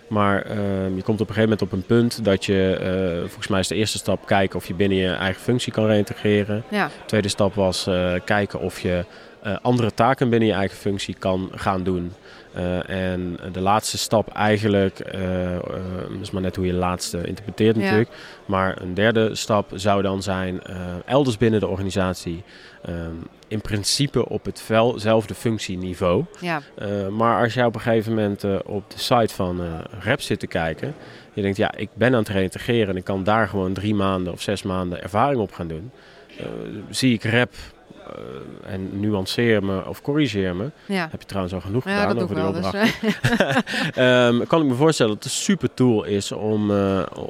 [SPEAKER 2] Maar ehm, je komt op een gegeven moment op een punt dat je, eh, volgens mij is de eerste stap kijken of je binnen je eigen functie kan reintegreren.
[SPEAKER 3] Ja,
[SPEAKER 2] Tweede stap was eh, kijken of je eh, andere taken binnen je eigen functie kan gaan doen. Eh, en de laatste stap eigenlijk, eh, eh, dat is maar net hoe je de laatste interpreteert
[SPEAKER 3] Ja.
[SPEAKER 2] natuurlijk. Maar een derde stap zou dan zijn eh, elders binnen de organisatie. ehm, in principe op hetzelfde functieniveau.
[SPEAKER 3] ja,
[SPEAKER 2] Eh, maar als jij op een gegeven moment eh, op de site van eh Rep zit te kijken. Je denkt, ja, ik ben aan het reintegreren en ik kan daar gewoon drie maanden of zes maanden ervaring op gaan doen. Eh, zie ik Rep eh, en nuanceer me of corrigeer me.
[SPEAKER 3] ja.
[SPEAKER 2] Heb je trouwens al genoeg
[SPEAKER 3] Ja,
[SPEAKER 2] gedaan
[SPEAKER 3] dat doe ik
[SPEAKER 2] over die
[SPEAKER 3] wel. Dus,
[SPEAKER 2] opdracht.
[SPEAKER 3] eh,
[SPEAKER 2] Ehm, kan ik me voorstellen dat het een super tool is om, eh,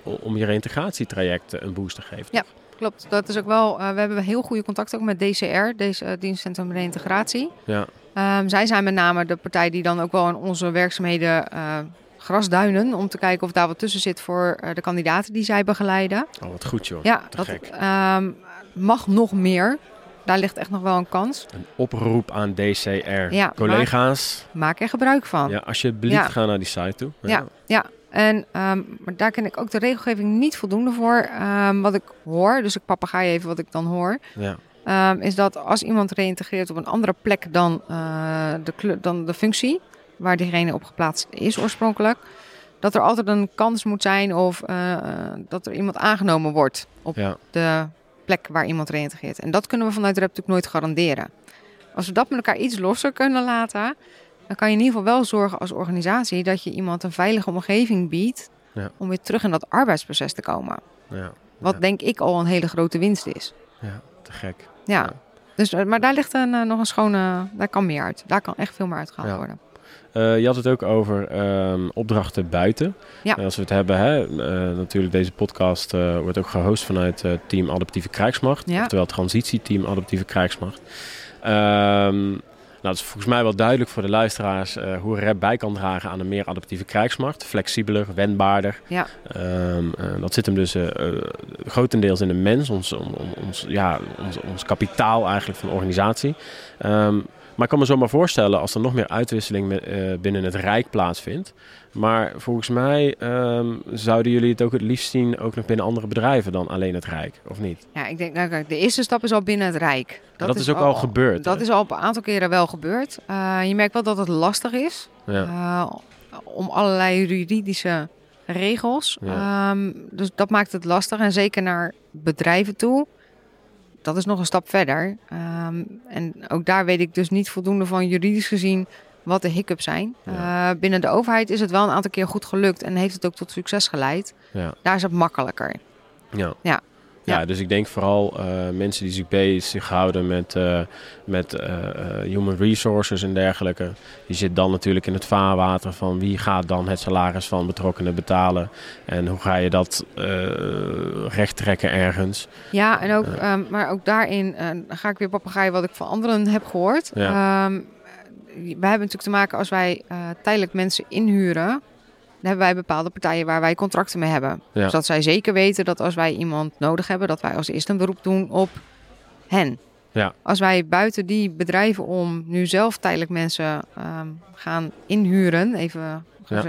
[SPEAKER 2] o- om je reintegratietraject een boost te geven.
[SPEAKER 3] Ja. eh, *laughs* Klopt, dat is ook wel. eh, we hebben heel goede contacten ook met DCR, deze eh, dienstcentrum Reintegratie.
[SPEAKER 2] Ja.
[SPEAKER 3] Ehm, zij zijn met name de partij die dan ook wel in onze werkzaamheden eh, grasduinen om te kijken of daar wat tussen zit voor eh, de kandidaten die zij begeleiden.
[SPEAKER 2] Oh, wat goed joh.
[SPEAKER 3] Ja,
[SPEAKER 2] te
[SPEAKER 3] dat
[SPEAKER 2] gek.
[SPEAKER 3] ehm, mag nog meer. Daar ligt echt nog wel een kans.
[SPEAKER 2] Een oproep aan DCR.
[SPEAKER 3] maar-
[SPEAKER 2] Collega's,
[SPEAKER 3] Maak er gebruik van.
[SPEAKER 2] ja, alsjeblieft
[SPEAKER 3] Ja.
[SPEAKER 2] ga naar die site toe.
[SPEAKER 3] Ja, ja. En ehm, maar daar ken ik ook de regelgeving niet voldoende voor. Ehm, wat ik hoor, dus ik papegaai even wat ik dan hoor.
[SPEAKER 2] ja.
[SPEAKER 3] Ehm, is dat als iemand reïntegreert op een andere plek dan, eh, de, kle- dan de functie waar diegene op geplaatst is oorspronkelijk, dat er altijd een kans moet zijn of eh, eh, dat er iemand aangenomen wordt op
[SPEAKER 2] Ja.
[SPEAKER 3] de plek waar iemand reïntegreert. En dat kunnen we vanuit REP natuurlijk nooit garanderen. Als we dat met elkaar iets losser kunnen laten, dan kan je in ieder geval wel zorgen als organisatie dat je iemand een veilige omgeving biedt
[SPEAKER 2] Ja.
[SPEAKER 3] om weer terug in dat arbeidsproces te komen.
[SPEAKER 2] Ja.
[SPEAKER 3] Wat
[SPEAKER 2] Ja.
[SPEAKER 3] denk ik al een hele grote winst is.
[SPEAKER 2] ja, te gek.
[SPEAKER 3] Ja.
[SPEAKER 2] Ja.
[SPEAKER 3] Dus, eh, maar daar ligt een, eh, nog een schone... Daar kan meer uit. Daar kan echt veel meer uitgehaald
[SPEAKER 2] Ja.
[SPEAKER 3] worden.
[SPEAKER 2] Eh, je had het ook over ehm, opdrachten buiten.
[SPEAKER 3] Ja.
[SPEAKER 2] Eh, als we het hebben, hè, eh, natuurlijk deze podcast eh, wordt ook gehost vanuit het Team Adaptieve Krijgsmacht.
[SPEAKER 3] Ja.
[SPEAKER 2] Oftewel Transitieteam Adaptieve Krijgsmacht. Ehm, nou, het is volgens mij wel duidelijk voor de luisteraars eh, hoe REP bij kan dragen aan een meer adaptieve krijgsmacht. Flexibeler, wendbaarder.
[SPEAKER 3] Ja.
[SPEAKER 2] Ehm, eh, dat zit hem dus eh, eh, grotendeels in de mens, ons, on- on- ons, ja, ons, ons kapitaal eigenlijk van de organisatie. Ehm, maar ik kan me zomaar voorstellen als er nog meer uitwisseling met, eh, binnen het Rijk plaatsvindt. Maar volgens mij ehm, zouden jullie het ook het liefst zien ook nog binnen andere bedrijven dan alleen het Rijk, of niet?
[SPEAKER 3] Ja, ik denk, nou kijk, de eerste stap is al binnen het Rijk.
[SPEAKER 2] Dat, is ook al, gebeurd.
[SPEAKER 3] Dat
[SPEAKER 2] hè?
[SPEAKER 3] is al een aantal keren wel gebeurd. Eh, je merkt wel dat het lastig is.
[SPEAKER 2] ja.
[SPEAKER 3] eh, om allerlei juridische regels.
[SPEAKER 2] Ja.
[SPEAKER 3] Ehm, dus dat maakt het lastig. En zeker naar bedrijven toe. Dat is nog een stap verder. Ehm, en ook daar weet ik dus niet voldoende van juridisch gezien wat de hiccups zijn.
[SPEAKER 2] Ja.
[SPEAKER 3] Eh, binnen de overheid is het wel een aantal keer goed gelukt en heeft het ook tot succes geleid.
[SPEAKER 2] Ja.
[SPEAKER 3] Daar is het makkelijker.
[SPEAKER 2] Ja.
[SPEAKER 3] Ja.
[SPEAKER 2] Ja,
[SPEAKER 3] Ja.
[SPEAKER 2] dus ik denk vooral eh, mensen die zich bezig houden met, eh, met eh, eh, human resources en dergelijke. Je zit dan natuurlijk in het vaarwater van wie gaat dan het salaris van betrokkenen betalen. En hoe ga je dat eh recht trekken ergens.
[SPEAKER 3] Ja, en ook,
[SPEAKER 2] Ja.
[SPEAKER 3] ehm, maar ook daarin eh, dan ga ik weer papegaaien wat ik van anderen heb gehoord.
[SPEAKER 2] Ja.
[SPEAKER 3] Ehm, we hebben natuurlijk te maken als wij eh, tijdelijk mensen inhuren, dan hebben wij bepaalde partijen waar wij contracten mee hebben.
[SPEAKER 2] Ja.
[SPEAKER 3] Dus dat zij zeker weten dat als wij iemand nodig hebben, dat wij als eerst een beroep doen op hen.
[SPEAKER 2] Ja.
[SPEAKER 3] Als wij buiten die bedrijven om nu zelf tijdelijk mensen ehm, gaan inhuren, even,
[SPEAKER 2] Ja.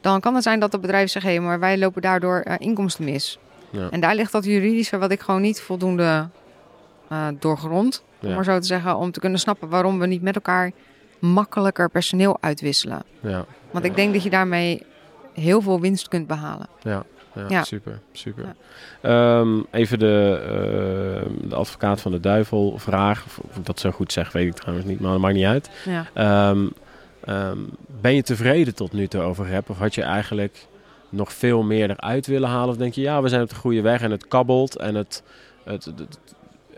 [SPEAKER 3] dan kan het zijn dat het bedrijf zegt, hé, maar wij lopen daardoor eh, inkomsten mis.
[SPEAKER 2] Ja.
[SPEAKER 3] En daar ligt dat juridische wat ik gewoon niet voldoende eh, doorgrond. Om
[SPEAKER 2] Ja.
[SPEAKER 3] maar zo te zeggen, om te kunnen snappen waarom we niet met elkaar makkelijker personeel uitwisselen.
[SPEAKER 2] Ja,
[SPEAKER 3] Want
[SPEAKER 2] Ja.
[SPEAKER 3] ik denk dat je daarmee heel veel winst kunt behalen.
[SPEAKER 2] ja,
[SPEAKER 3] Ja.
[SPEAKER 2] super, super. Ehm, even de, eh, de advocaat van de duivel vraag. Of ik dat zo goed zeg, weet ik trouwens niet, maar dat maakt niet uit.
[SPEAKER 3] Ja.
[SPEAKER 2] Ehm, ehm, ben je tevreden tot nu toe over rap? Of had je eigenlijk nog veel meer eruit willen halen? Of denk je, ja, we zijn op de goede weg en het kabbelt en het, het, het, het,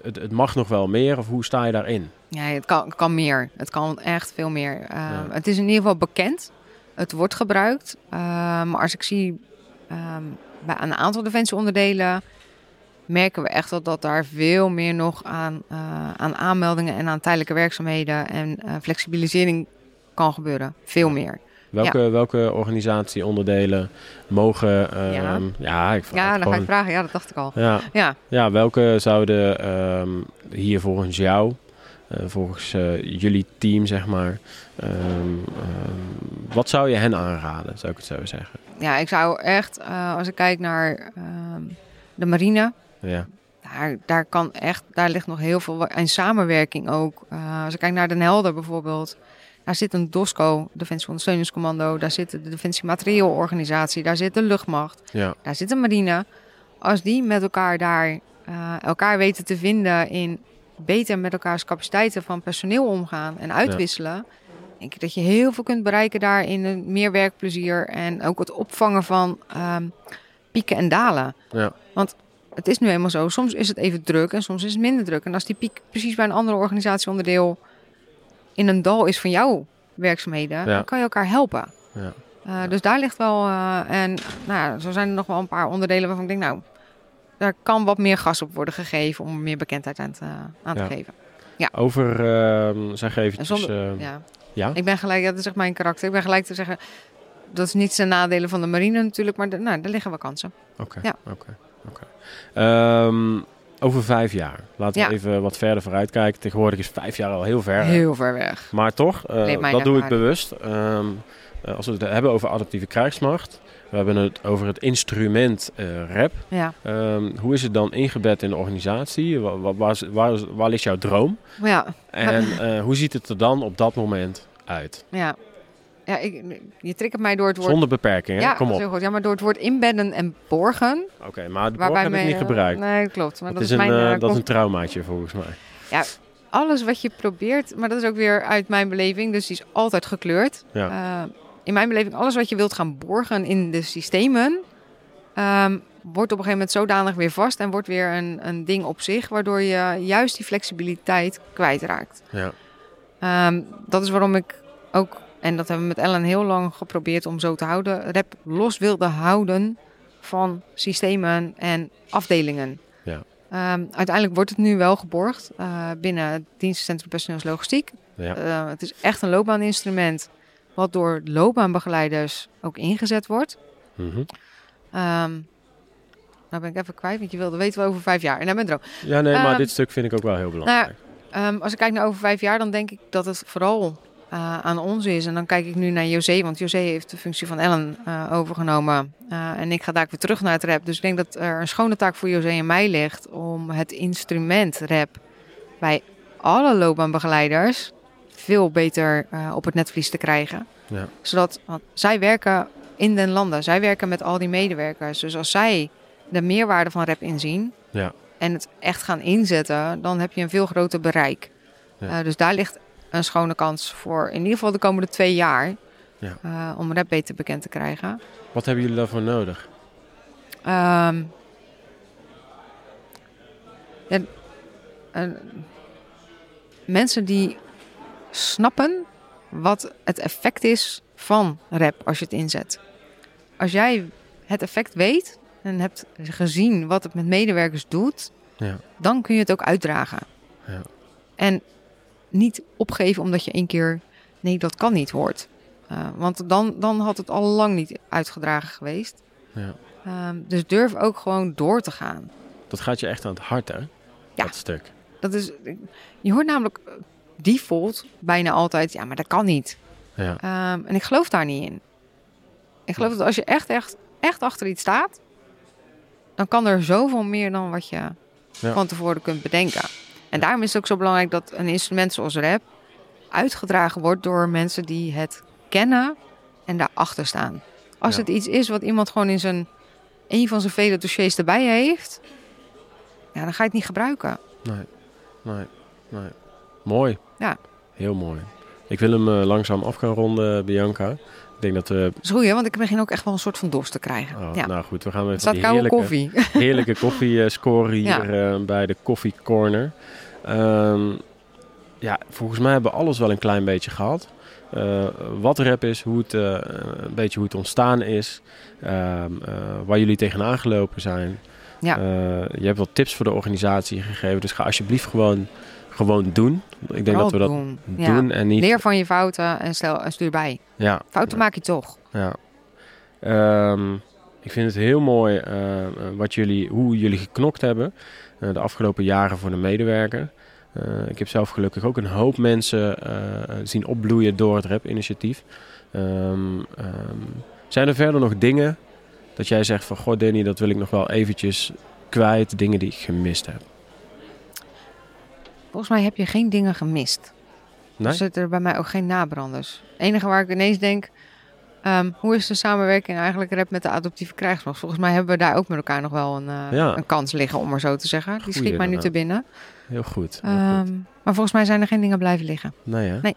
[SPEAKER 2] het- het mag nog wel meer? Of hoe sta je daarin?
[SPEAKER 3] Ja, het kan, het kan meer. Het kan echt veel meer. Ehm,
[SPEAKER 2] Ja.
[SPEAKER 3] Het is in ieder geval bekend. Het wordt gebruikt. Ehm, maar als ik zie ehm, bij een aantal defensieonderdelen... merken we echt dat, dat daar veel meer nog aan, eh, aan aanmeldingen... en aan tijdelijke werkzaamheden en eh, flexibilisering kan gebeuren. Veel meer.
[SPEAKER 2] Welke, welke organisatieonderdelen mogen... ehm,
[SPEAKER 3] Ja.
[SPEAKER 2] ja. ik vraag
[SPEAKER 3] Ja,
[SPEAKER 2] het
[SPEAKER 3] dan ga
[SPEAKER 2] gewoon.
[SPEAKER 3] ik vragen. Ja, dat dacht ik al.
[SPEAKER 2] Ja,
[SPEAKER 3] Ja,
[SPEAKER 2] ja, welke zouden ehm, hier volgens jou, eh, volgens eh, jullie team, zeg maar... ehm, ehm, wat zou je hen aanraden, zou ik het zo zeggen?
[SPEAKER 3] ja ik zou echt... eh, als ik kijk naar ehm, de marine...
[SPEAKER 2] Ja,
[SPEAKER 3] Daar, daar kan echt, daar ligt nog heel veel wa- en samenwerking ook. Eh, als ik kijk naar Den Helder bijvoorbeeld, daar zit een DOSCO, Defensie Ondersteuningscommando, daar zit de Defensie Materieelorganisatie, daar zit de luchtmacht,
[SPEAKER 2] ja.
[SPEAKER 3] daar zit de marine. Als die met elkaar daar eh, elkaar weten te vinden in beter met elkaars capaciteiten van personeel omgaan en uitwisselen, denk ik dat je heel veel kunt bereiken daar in een meer werkplezier en ook het opvangen van ehm, pieken en dalen
[SPEAKER 2] Ja,
[SPEAKER 3] het is nu eenmaal zo. Soms is het even druk en soms is het minder druk. En als die piek precies bij een andere organisatieonderdeel in een dal is van jouw werkzaamheden,
[SPEAKER 2] Ja.
[SPEAKER 3] dan kan je elkaar helpen.
[SPEAKER 2] Ja.
[SPEAKER 3] Uh, Dus daar ligt wel. eh, en nou, ja, zo zijn er nog wel een paar onderdelen waarvan ik denk, nou, daar kan wat meer gas op worden gegeven om er meer bekendheid aan te, aan
[SPEAKER 2] Ja.
[SPEAKER 3] te geven.
[SPEAKER 2] over, ehm, zeg eventjes...
[SPEAKER 3] En zonder-
[SPEAKER 2] ehm,
[SPEAKER 3] Ja.
[SPEAKER 2] ja?
[SPEAKER 3] Ik ben gelijk, ja, dat is echt mijn karakter. Ik ben gelijk te zeggen, dat is niet zijn nadelen van de marine natuurlijk, maar de- nou, daar liggen wel kansen.
[SPEAKER 2] Oké,
[SPEAKER 3] ja.
[SPEAKER 2] oké, oké. Ehm, over vijf jaar. Laten we
[SPEAKER 3] Ja.
[SPEAKER 2] even wat verder vooruit kijken. Tegenwoordig is vijf jaar al heel ver.
[SPEAKER 3] Heel ver weg.
[SPEAKER 2] Maar toch, eh,
[SPEAKER 3] Leef mijn
[SPEAKER 2] dat doe ik
[SPEAKER 3] ervaring.
[SPEAKER 2] bewust. Ehm, eh, als we het hebben over adaptieve krijgsmacht. We hebben het over het instrument eh rap.
[SPEAKER 3] Ja.
[SPEAKER 2] Ehm, hoe is het dan ingebed in de organisatie? Wa- wa- waar, is- waar, is- waar ligt jouw droom?
[SPEAKER 3] Maar ja,
[SPEAKER 2] En eh, hoe ziet het er dan op dat moment uit?
[SPEAKER 3] Ja, ja ik, je triggert mij door het woord.
[SPEAKER 2] Zonder beperkingen, hè?
[SPEAKER 3] ja,
[SPEAKER 2] kom
[SPEAKER 3] dat
[SPEAKER 2] op.
[SPEAKER 3] is heel goed. Ja, maar door het woord inbedden en borgen.
[SPEAKER 2] Oké, maar het woord
[SPEAKER 3] Waarbij
[SPEAKER 2] heb ik
[SPEAKER 3] mij- eh,
[SPEAKER 2] niet gebruikt.
[SPEAKER 3] Nee, klopt. Maar
[SPEAKER 2] Dat,
[SPEAKER 3] dat,
[SPEAKER 2] is, een,
[SPEAKER 3] mijn,
[SPEAKER 2] eh,
[SPEAKER 3] eh,
[SPEAKER 2] dat is
[SPEAKER 3] con-
[SPEAKER 2] een traumaatje volgens mij.
[SPEAKER 3] Alles wat je probeert, maar dat is ook weer uit mijn beleving, dus die is altijd gekleurd.
[SPEAKER 2] Ja.
[SPEAKER 3] Eh, in mijn beleving, alles wat je wilt gaan borgen in de systemen, ehm, wordt op een gegeven moment zodanig weer vast en wordt weer een, een ding op zich, waardoor je juist die flexibiliteit kwijtraakt.
[SPEAKER 2] Ja.
[SPEAKER 3] Ehm, dat is waarom ik ook, en dat hebben we met Ellen heel lang geprobeerd om zo te houden, rap los wilde houden van systemen en afdelingen.
[SPEAKER 2] Ja.
[SPEAKER 3] Ehm, uiteindelijk wordt het nu wel geborgd eh, binnen het dienstencentrum personeelslogistiek.
[SPEAKER 2] Ja.
[SPEAKER 3] Eh, het is echt een loopbaaninstrument wat door loopbaanbegeleiders ook ingezet wordt.
[SPEAKER 2] Mhm.
[SPEAKER 3] Ehm nou ben ik even kwijt, want je wilde weten wel over vijf jaar. En dan ben ik er ook.
[SPEAKER 2] ja, nee, maar
[SPEAKER 3] Ehm,
[SPEAKER 2] dit stuk vind ik ook wel heel belangrijk.
[SPEAKER 3] Ehm, als ik kijk naar over vijf jaar, dan denk ik dat het vooral eh, aan ons is. En dan kijk ik nu naar José, want José heeft de functie van Ellen eh, overgenomen. Eh, en ik ga daar weer terug naar het rap. Dus ik denk dat er een schone taak voor José en mij ligt om het instrument rap bij alle loopbaanbegeleiders veel beter eh, op het netvlies te krijgen.
[SPEAKER 2] Ja.
[SPEAKER 3] Zodat, want zij werken in den landen, zij werken met al die medewerkers. Dus als zij de meerwaarde van rap inzien, en het echt gaan inzetten, dan heb je een veel groter bereik.
[SPEAKER 2] Ja.
[SPEAKER 3] Eh, dus daar ligt een schone kans voor in ieder geval de komende twee jaar
[SPEAKER 2] Ja.
[SPEAKER 3] eh, om rap beter bekend te krijgen.
[SPEAKER 2] Wat hebben jullie daarvoor nodig?
[SPEAKER 3] Ehm, ja, en mensen die snappen wat het effect is van rap als je het inzet. Als jij het effect weet en hebt gezien wat het met medewerkers doet,
[SPEAKER 2] Ja.
[SPEAKER 3] dan kun je het ook uitdragen.
[SPEAKER 2] Ja.
[SPEAKER 3] En niet opgeven omdat je één keer nee, dat kan niet hoort. Eh, want dan, dan had het al lang niet uitgedragen geweest.
[SPEAKER 2] Ja.
[SPEAKER 3] Ehm, dus durf ook gewoon door te gaan.
[SPEAKER 2] Dat gaat je echt aan het hart, hè?
[SPEAKER 3] Ja.
[SPEAKER 2] Dat stuk.
[SPEAKER 3] Dat is, je hoort namelijk eh, default bijna altijd, ja, maar dat kan niet.
[SPEAKER 2] Ja.
[SPEAKER 3] Ehm, en ik geloof daar niet in. Ik geloof dat als je echt, echt, echt achter iets staat, dan kan er zoveel meer dan wat je van tevoren kunt bedenken. En daarom is het ook zo belangrijk dat een instrument zoals rap uitgedragen wordt door mensen die het kennen en daarachter staan. Als
[SPEAKER 2] Ja.
[SPEAKER 3] het iets is wat iemand gewoon in zijn een van zijn vele dossiers erbij heeft, ja, dan ga je het niet gebruiken.
[SPEAKER 2] Nee, nee, nee. Mooi.
[SPEAKER 3] Ja.
[SPEAKER 2] Heel mooi. Ik wil hem eh, langzaam af gaan ronden, Bianca. Ik denk dat we...
[SPEAKER 3] Dat is goed, hè? want ik begin ook echt wel een soort van dorst te krijgen.
[SPEAKER 2] oh,
[SPEAKER 3] ja.
[SPEAKER 2] Nou goed, we gaan weer
[SPEAKER 3] Er staat
[SPEAKER 2] die
[SPEAKER 3] koude
[SPEAKER 2] heerlijke,
[SPEAKER 3] koffie. *laughs*
[SPEAKER 2] heerlijke koffie eh, scoren hier
[SPEAKER 3] Ja.
[SPEAKER 2] eh, bij de Coffee Corner. Ehm, ja, volgens mij hebben we alles wel een klein beetje gehad. Eh, wat rap is, hoe het, eh, een beetje hoe het ontstaan is, ehm, eh, waar jullie tegenaan gelopen zijn.
[SPEAKER 3] Ja.
[SPEAKER 2] Eh, je hebt wat tips voor de organisatie gegeven, dus ga alsjeblieft gewoon, gewoon doen. Ik denk dat we dat
[SPEAKER 3] doen. Ja.
[SPEAKER 2] doen en niet.
[SPEAKER 3] Leer van je fouten en, stel, en stuur bij.
[SPEAKER 2] Ja,
[SPEAKER 3] Fouten maak je toch.
[SPEAKER 2] ja. Ehm, ik vind het heel mooi eh, wat jullie, hoe jullie geknokt hebben eh, de afgelopen jaren voor de medewerker. Eh, ik heb zelf gelukkig ook een hoop mensen eh, zien opbloeien door het REP-initiatief. Ehm, ehm, zijn er verder nog dingen dat jij zegt van... Goh, Danny, dat wil ik nog wel eventjes kwijt. Dingen die ik gemist heb.
[SPEAKER 3] Volgens mij heb je geen dingen gemist.
[SPEAKER 2] Nee?
[SPEAKER 3] Er zitten er bij mij ook geen nabranders. Het enige waar ik ineens denk, ehm, hoe is de samenwerking eigenlijk rep met de adoptieve krijgsmacht? Volgens mij hebben we daar ook met elkaar nog wel een, eh,
[SPEAKER 2] Ja.
[SPEAKER 3] een kans liggen, om maar zo te zeggen. Die
[SPEAKER 2] Goeie,
[SPEAKER 3] schiet mij nu te binnen.
[SPEAKER 2] Heel goed. Heel goed.
[SPEAKER 3] Ehm, maar volgens mij zijn er geen dingen blijven liggen.
[SPEAKER 2] Nee, hè?
[SPEAKER 3] Nee.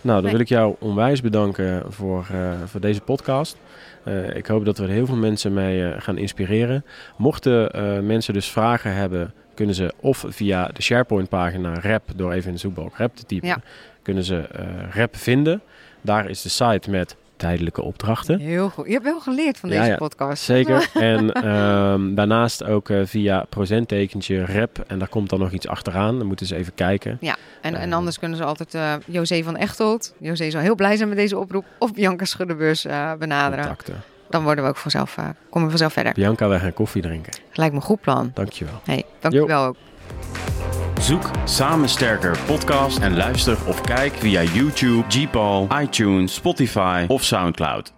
[SPEAKER 2] Nou, dan
[SPEAKER 3] Nee.
[SPEAKER 2] wil ik jou onwijs bedanken voor, eh, voor deze podcast. Eh, ik hoop dat we er heel veel mensen mee eh, gaan inspireren. Mochten eh, mensen dus vragen hebben, kunnen ze of via de SharePoint-pagina RAP, door even in de zoekbalk RAP te typen,
[SPEAKER 3] Ja.
[SPEAKER 2] kunnen ze eh RAP vinden. Daar is de site met tijdelijke opdrachten.
[SPEAKER 3] Heel goed. Je hebt wel geleerd van
[SPEAKER 2] Ja,
[SPEAKER 3] deze
[SPEAKER 2] ja.
[SPEAKER 3] podcast. *laughs*
[SPEAKER 2] Zeker. En ehm, daarnaast ook eh, via procenttekentje rep. En daar komt dan nog iets achteraan. Dan moeten ze even kijken.
[SPEAKER 3] En, en
[SPEAKER 2] Ehm.
[SPEAKER 3] anders kunnen ze altijd eh José van Echtelt, José zal heel blij zijn met deze oproep, of Bianca Schuddebeurs eh, benaderen.
[SPEAKER 2] Contacten.
[SPEAKER 3] Dan worden we ook vanzelf, eh, komen we vanzelf verder.
[SPEAKER 2] Bianca, wij gaan koffie drinken.
[SPEAKER 3] Lijkt me een goed plan.
[SPEAKER 2] Dankjewel.
[SPEAKER 3] Hey, dankjewel ook.
[SPEAKER 1] Zoek Samen Sterker podcast en luister of kijk via YouTube, Gpal, iTunes, Spotify of Soundcloud.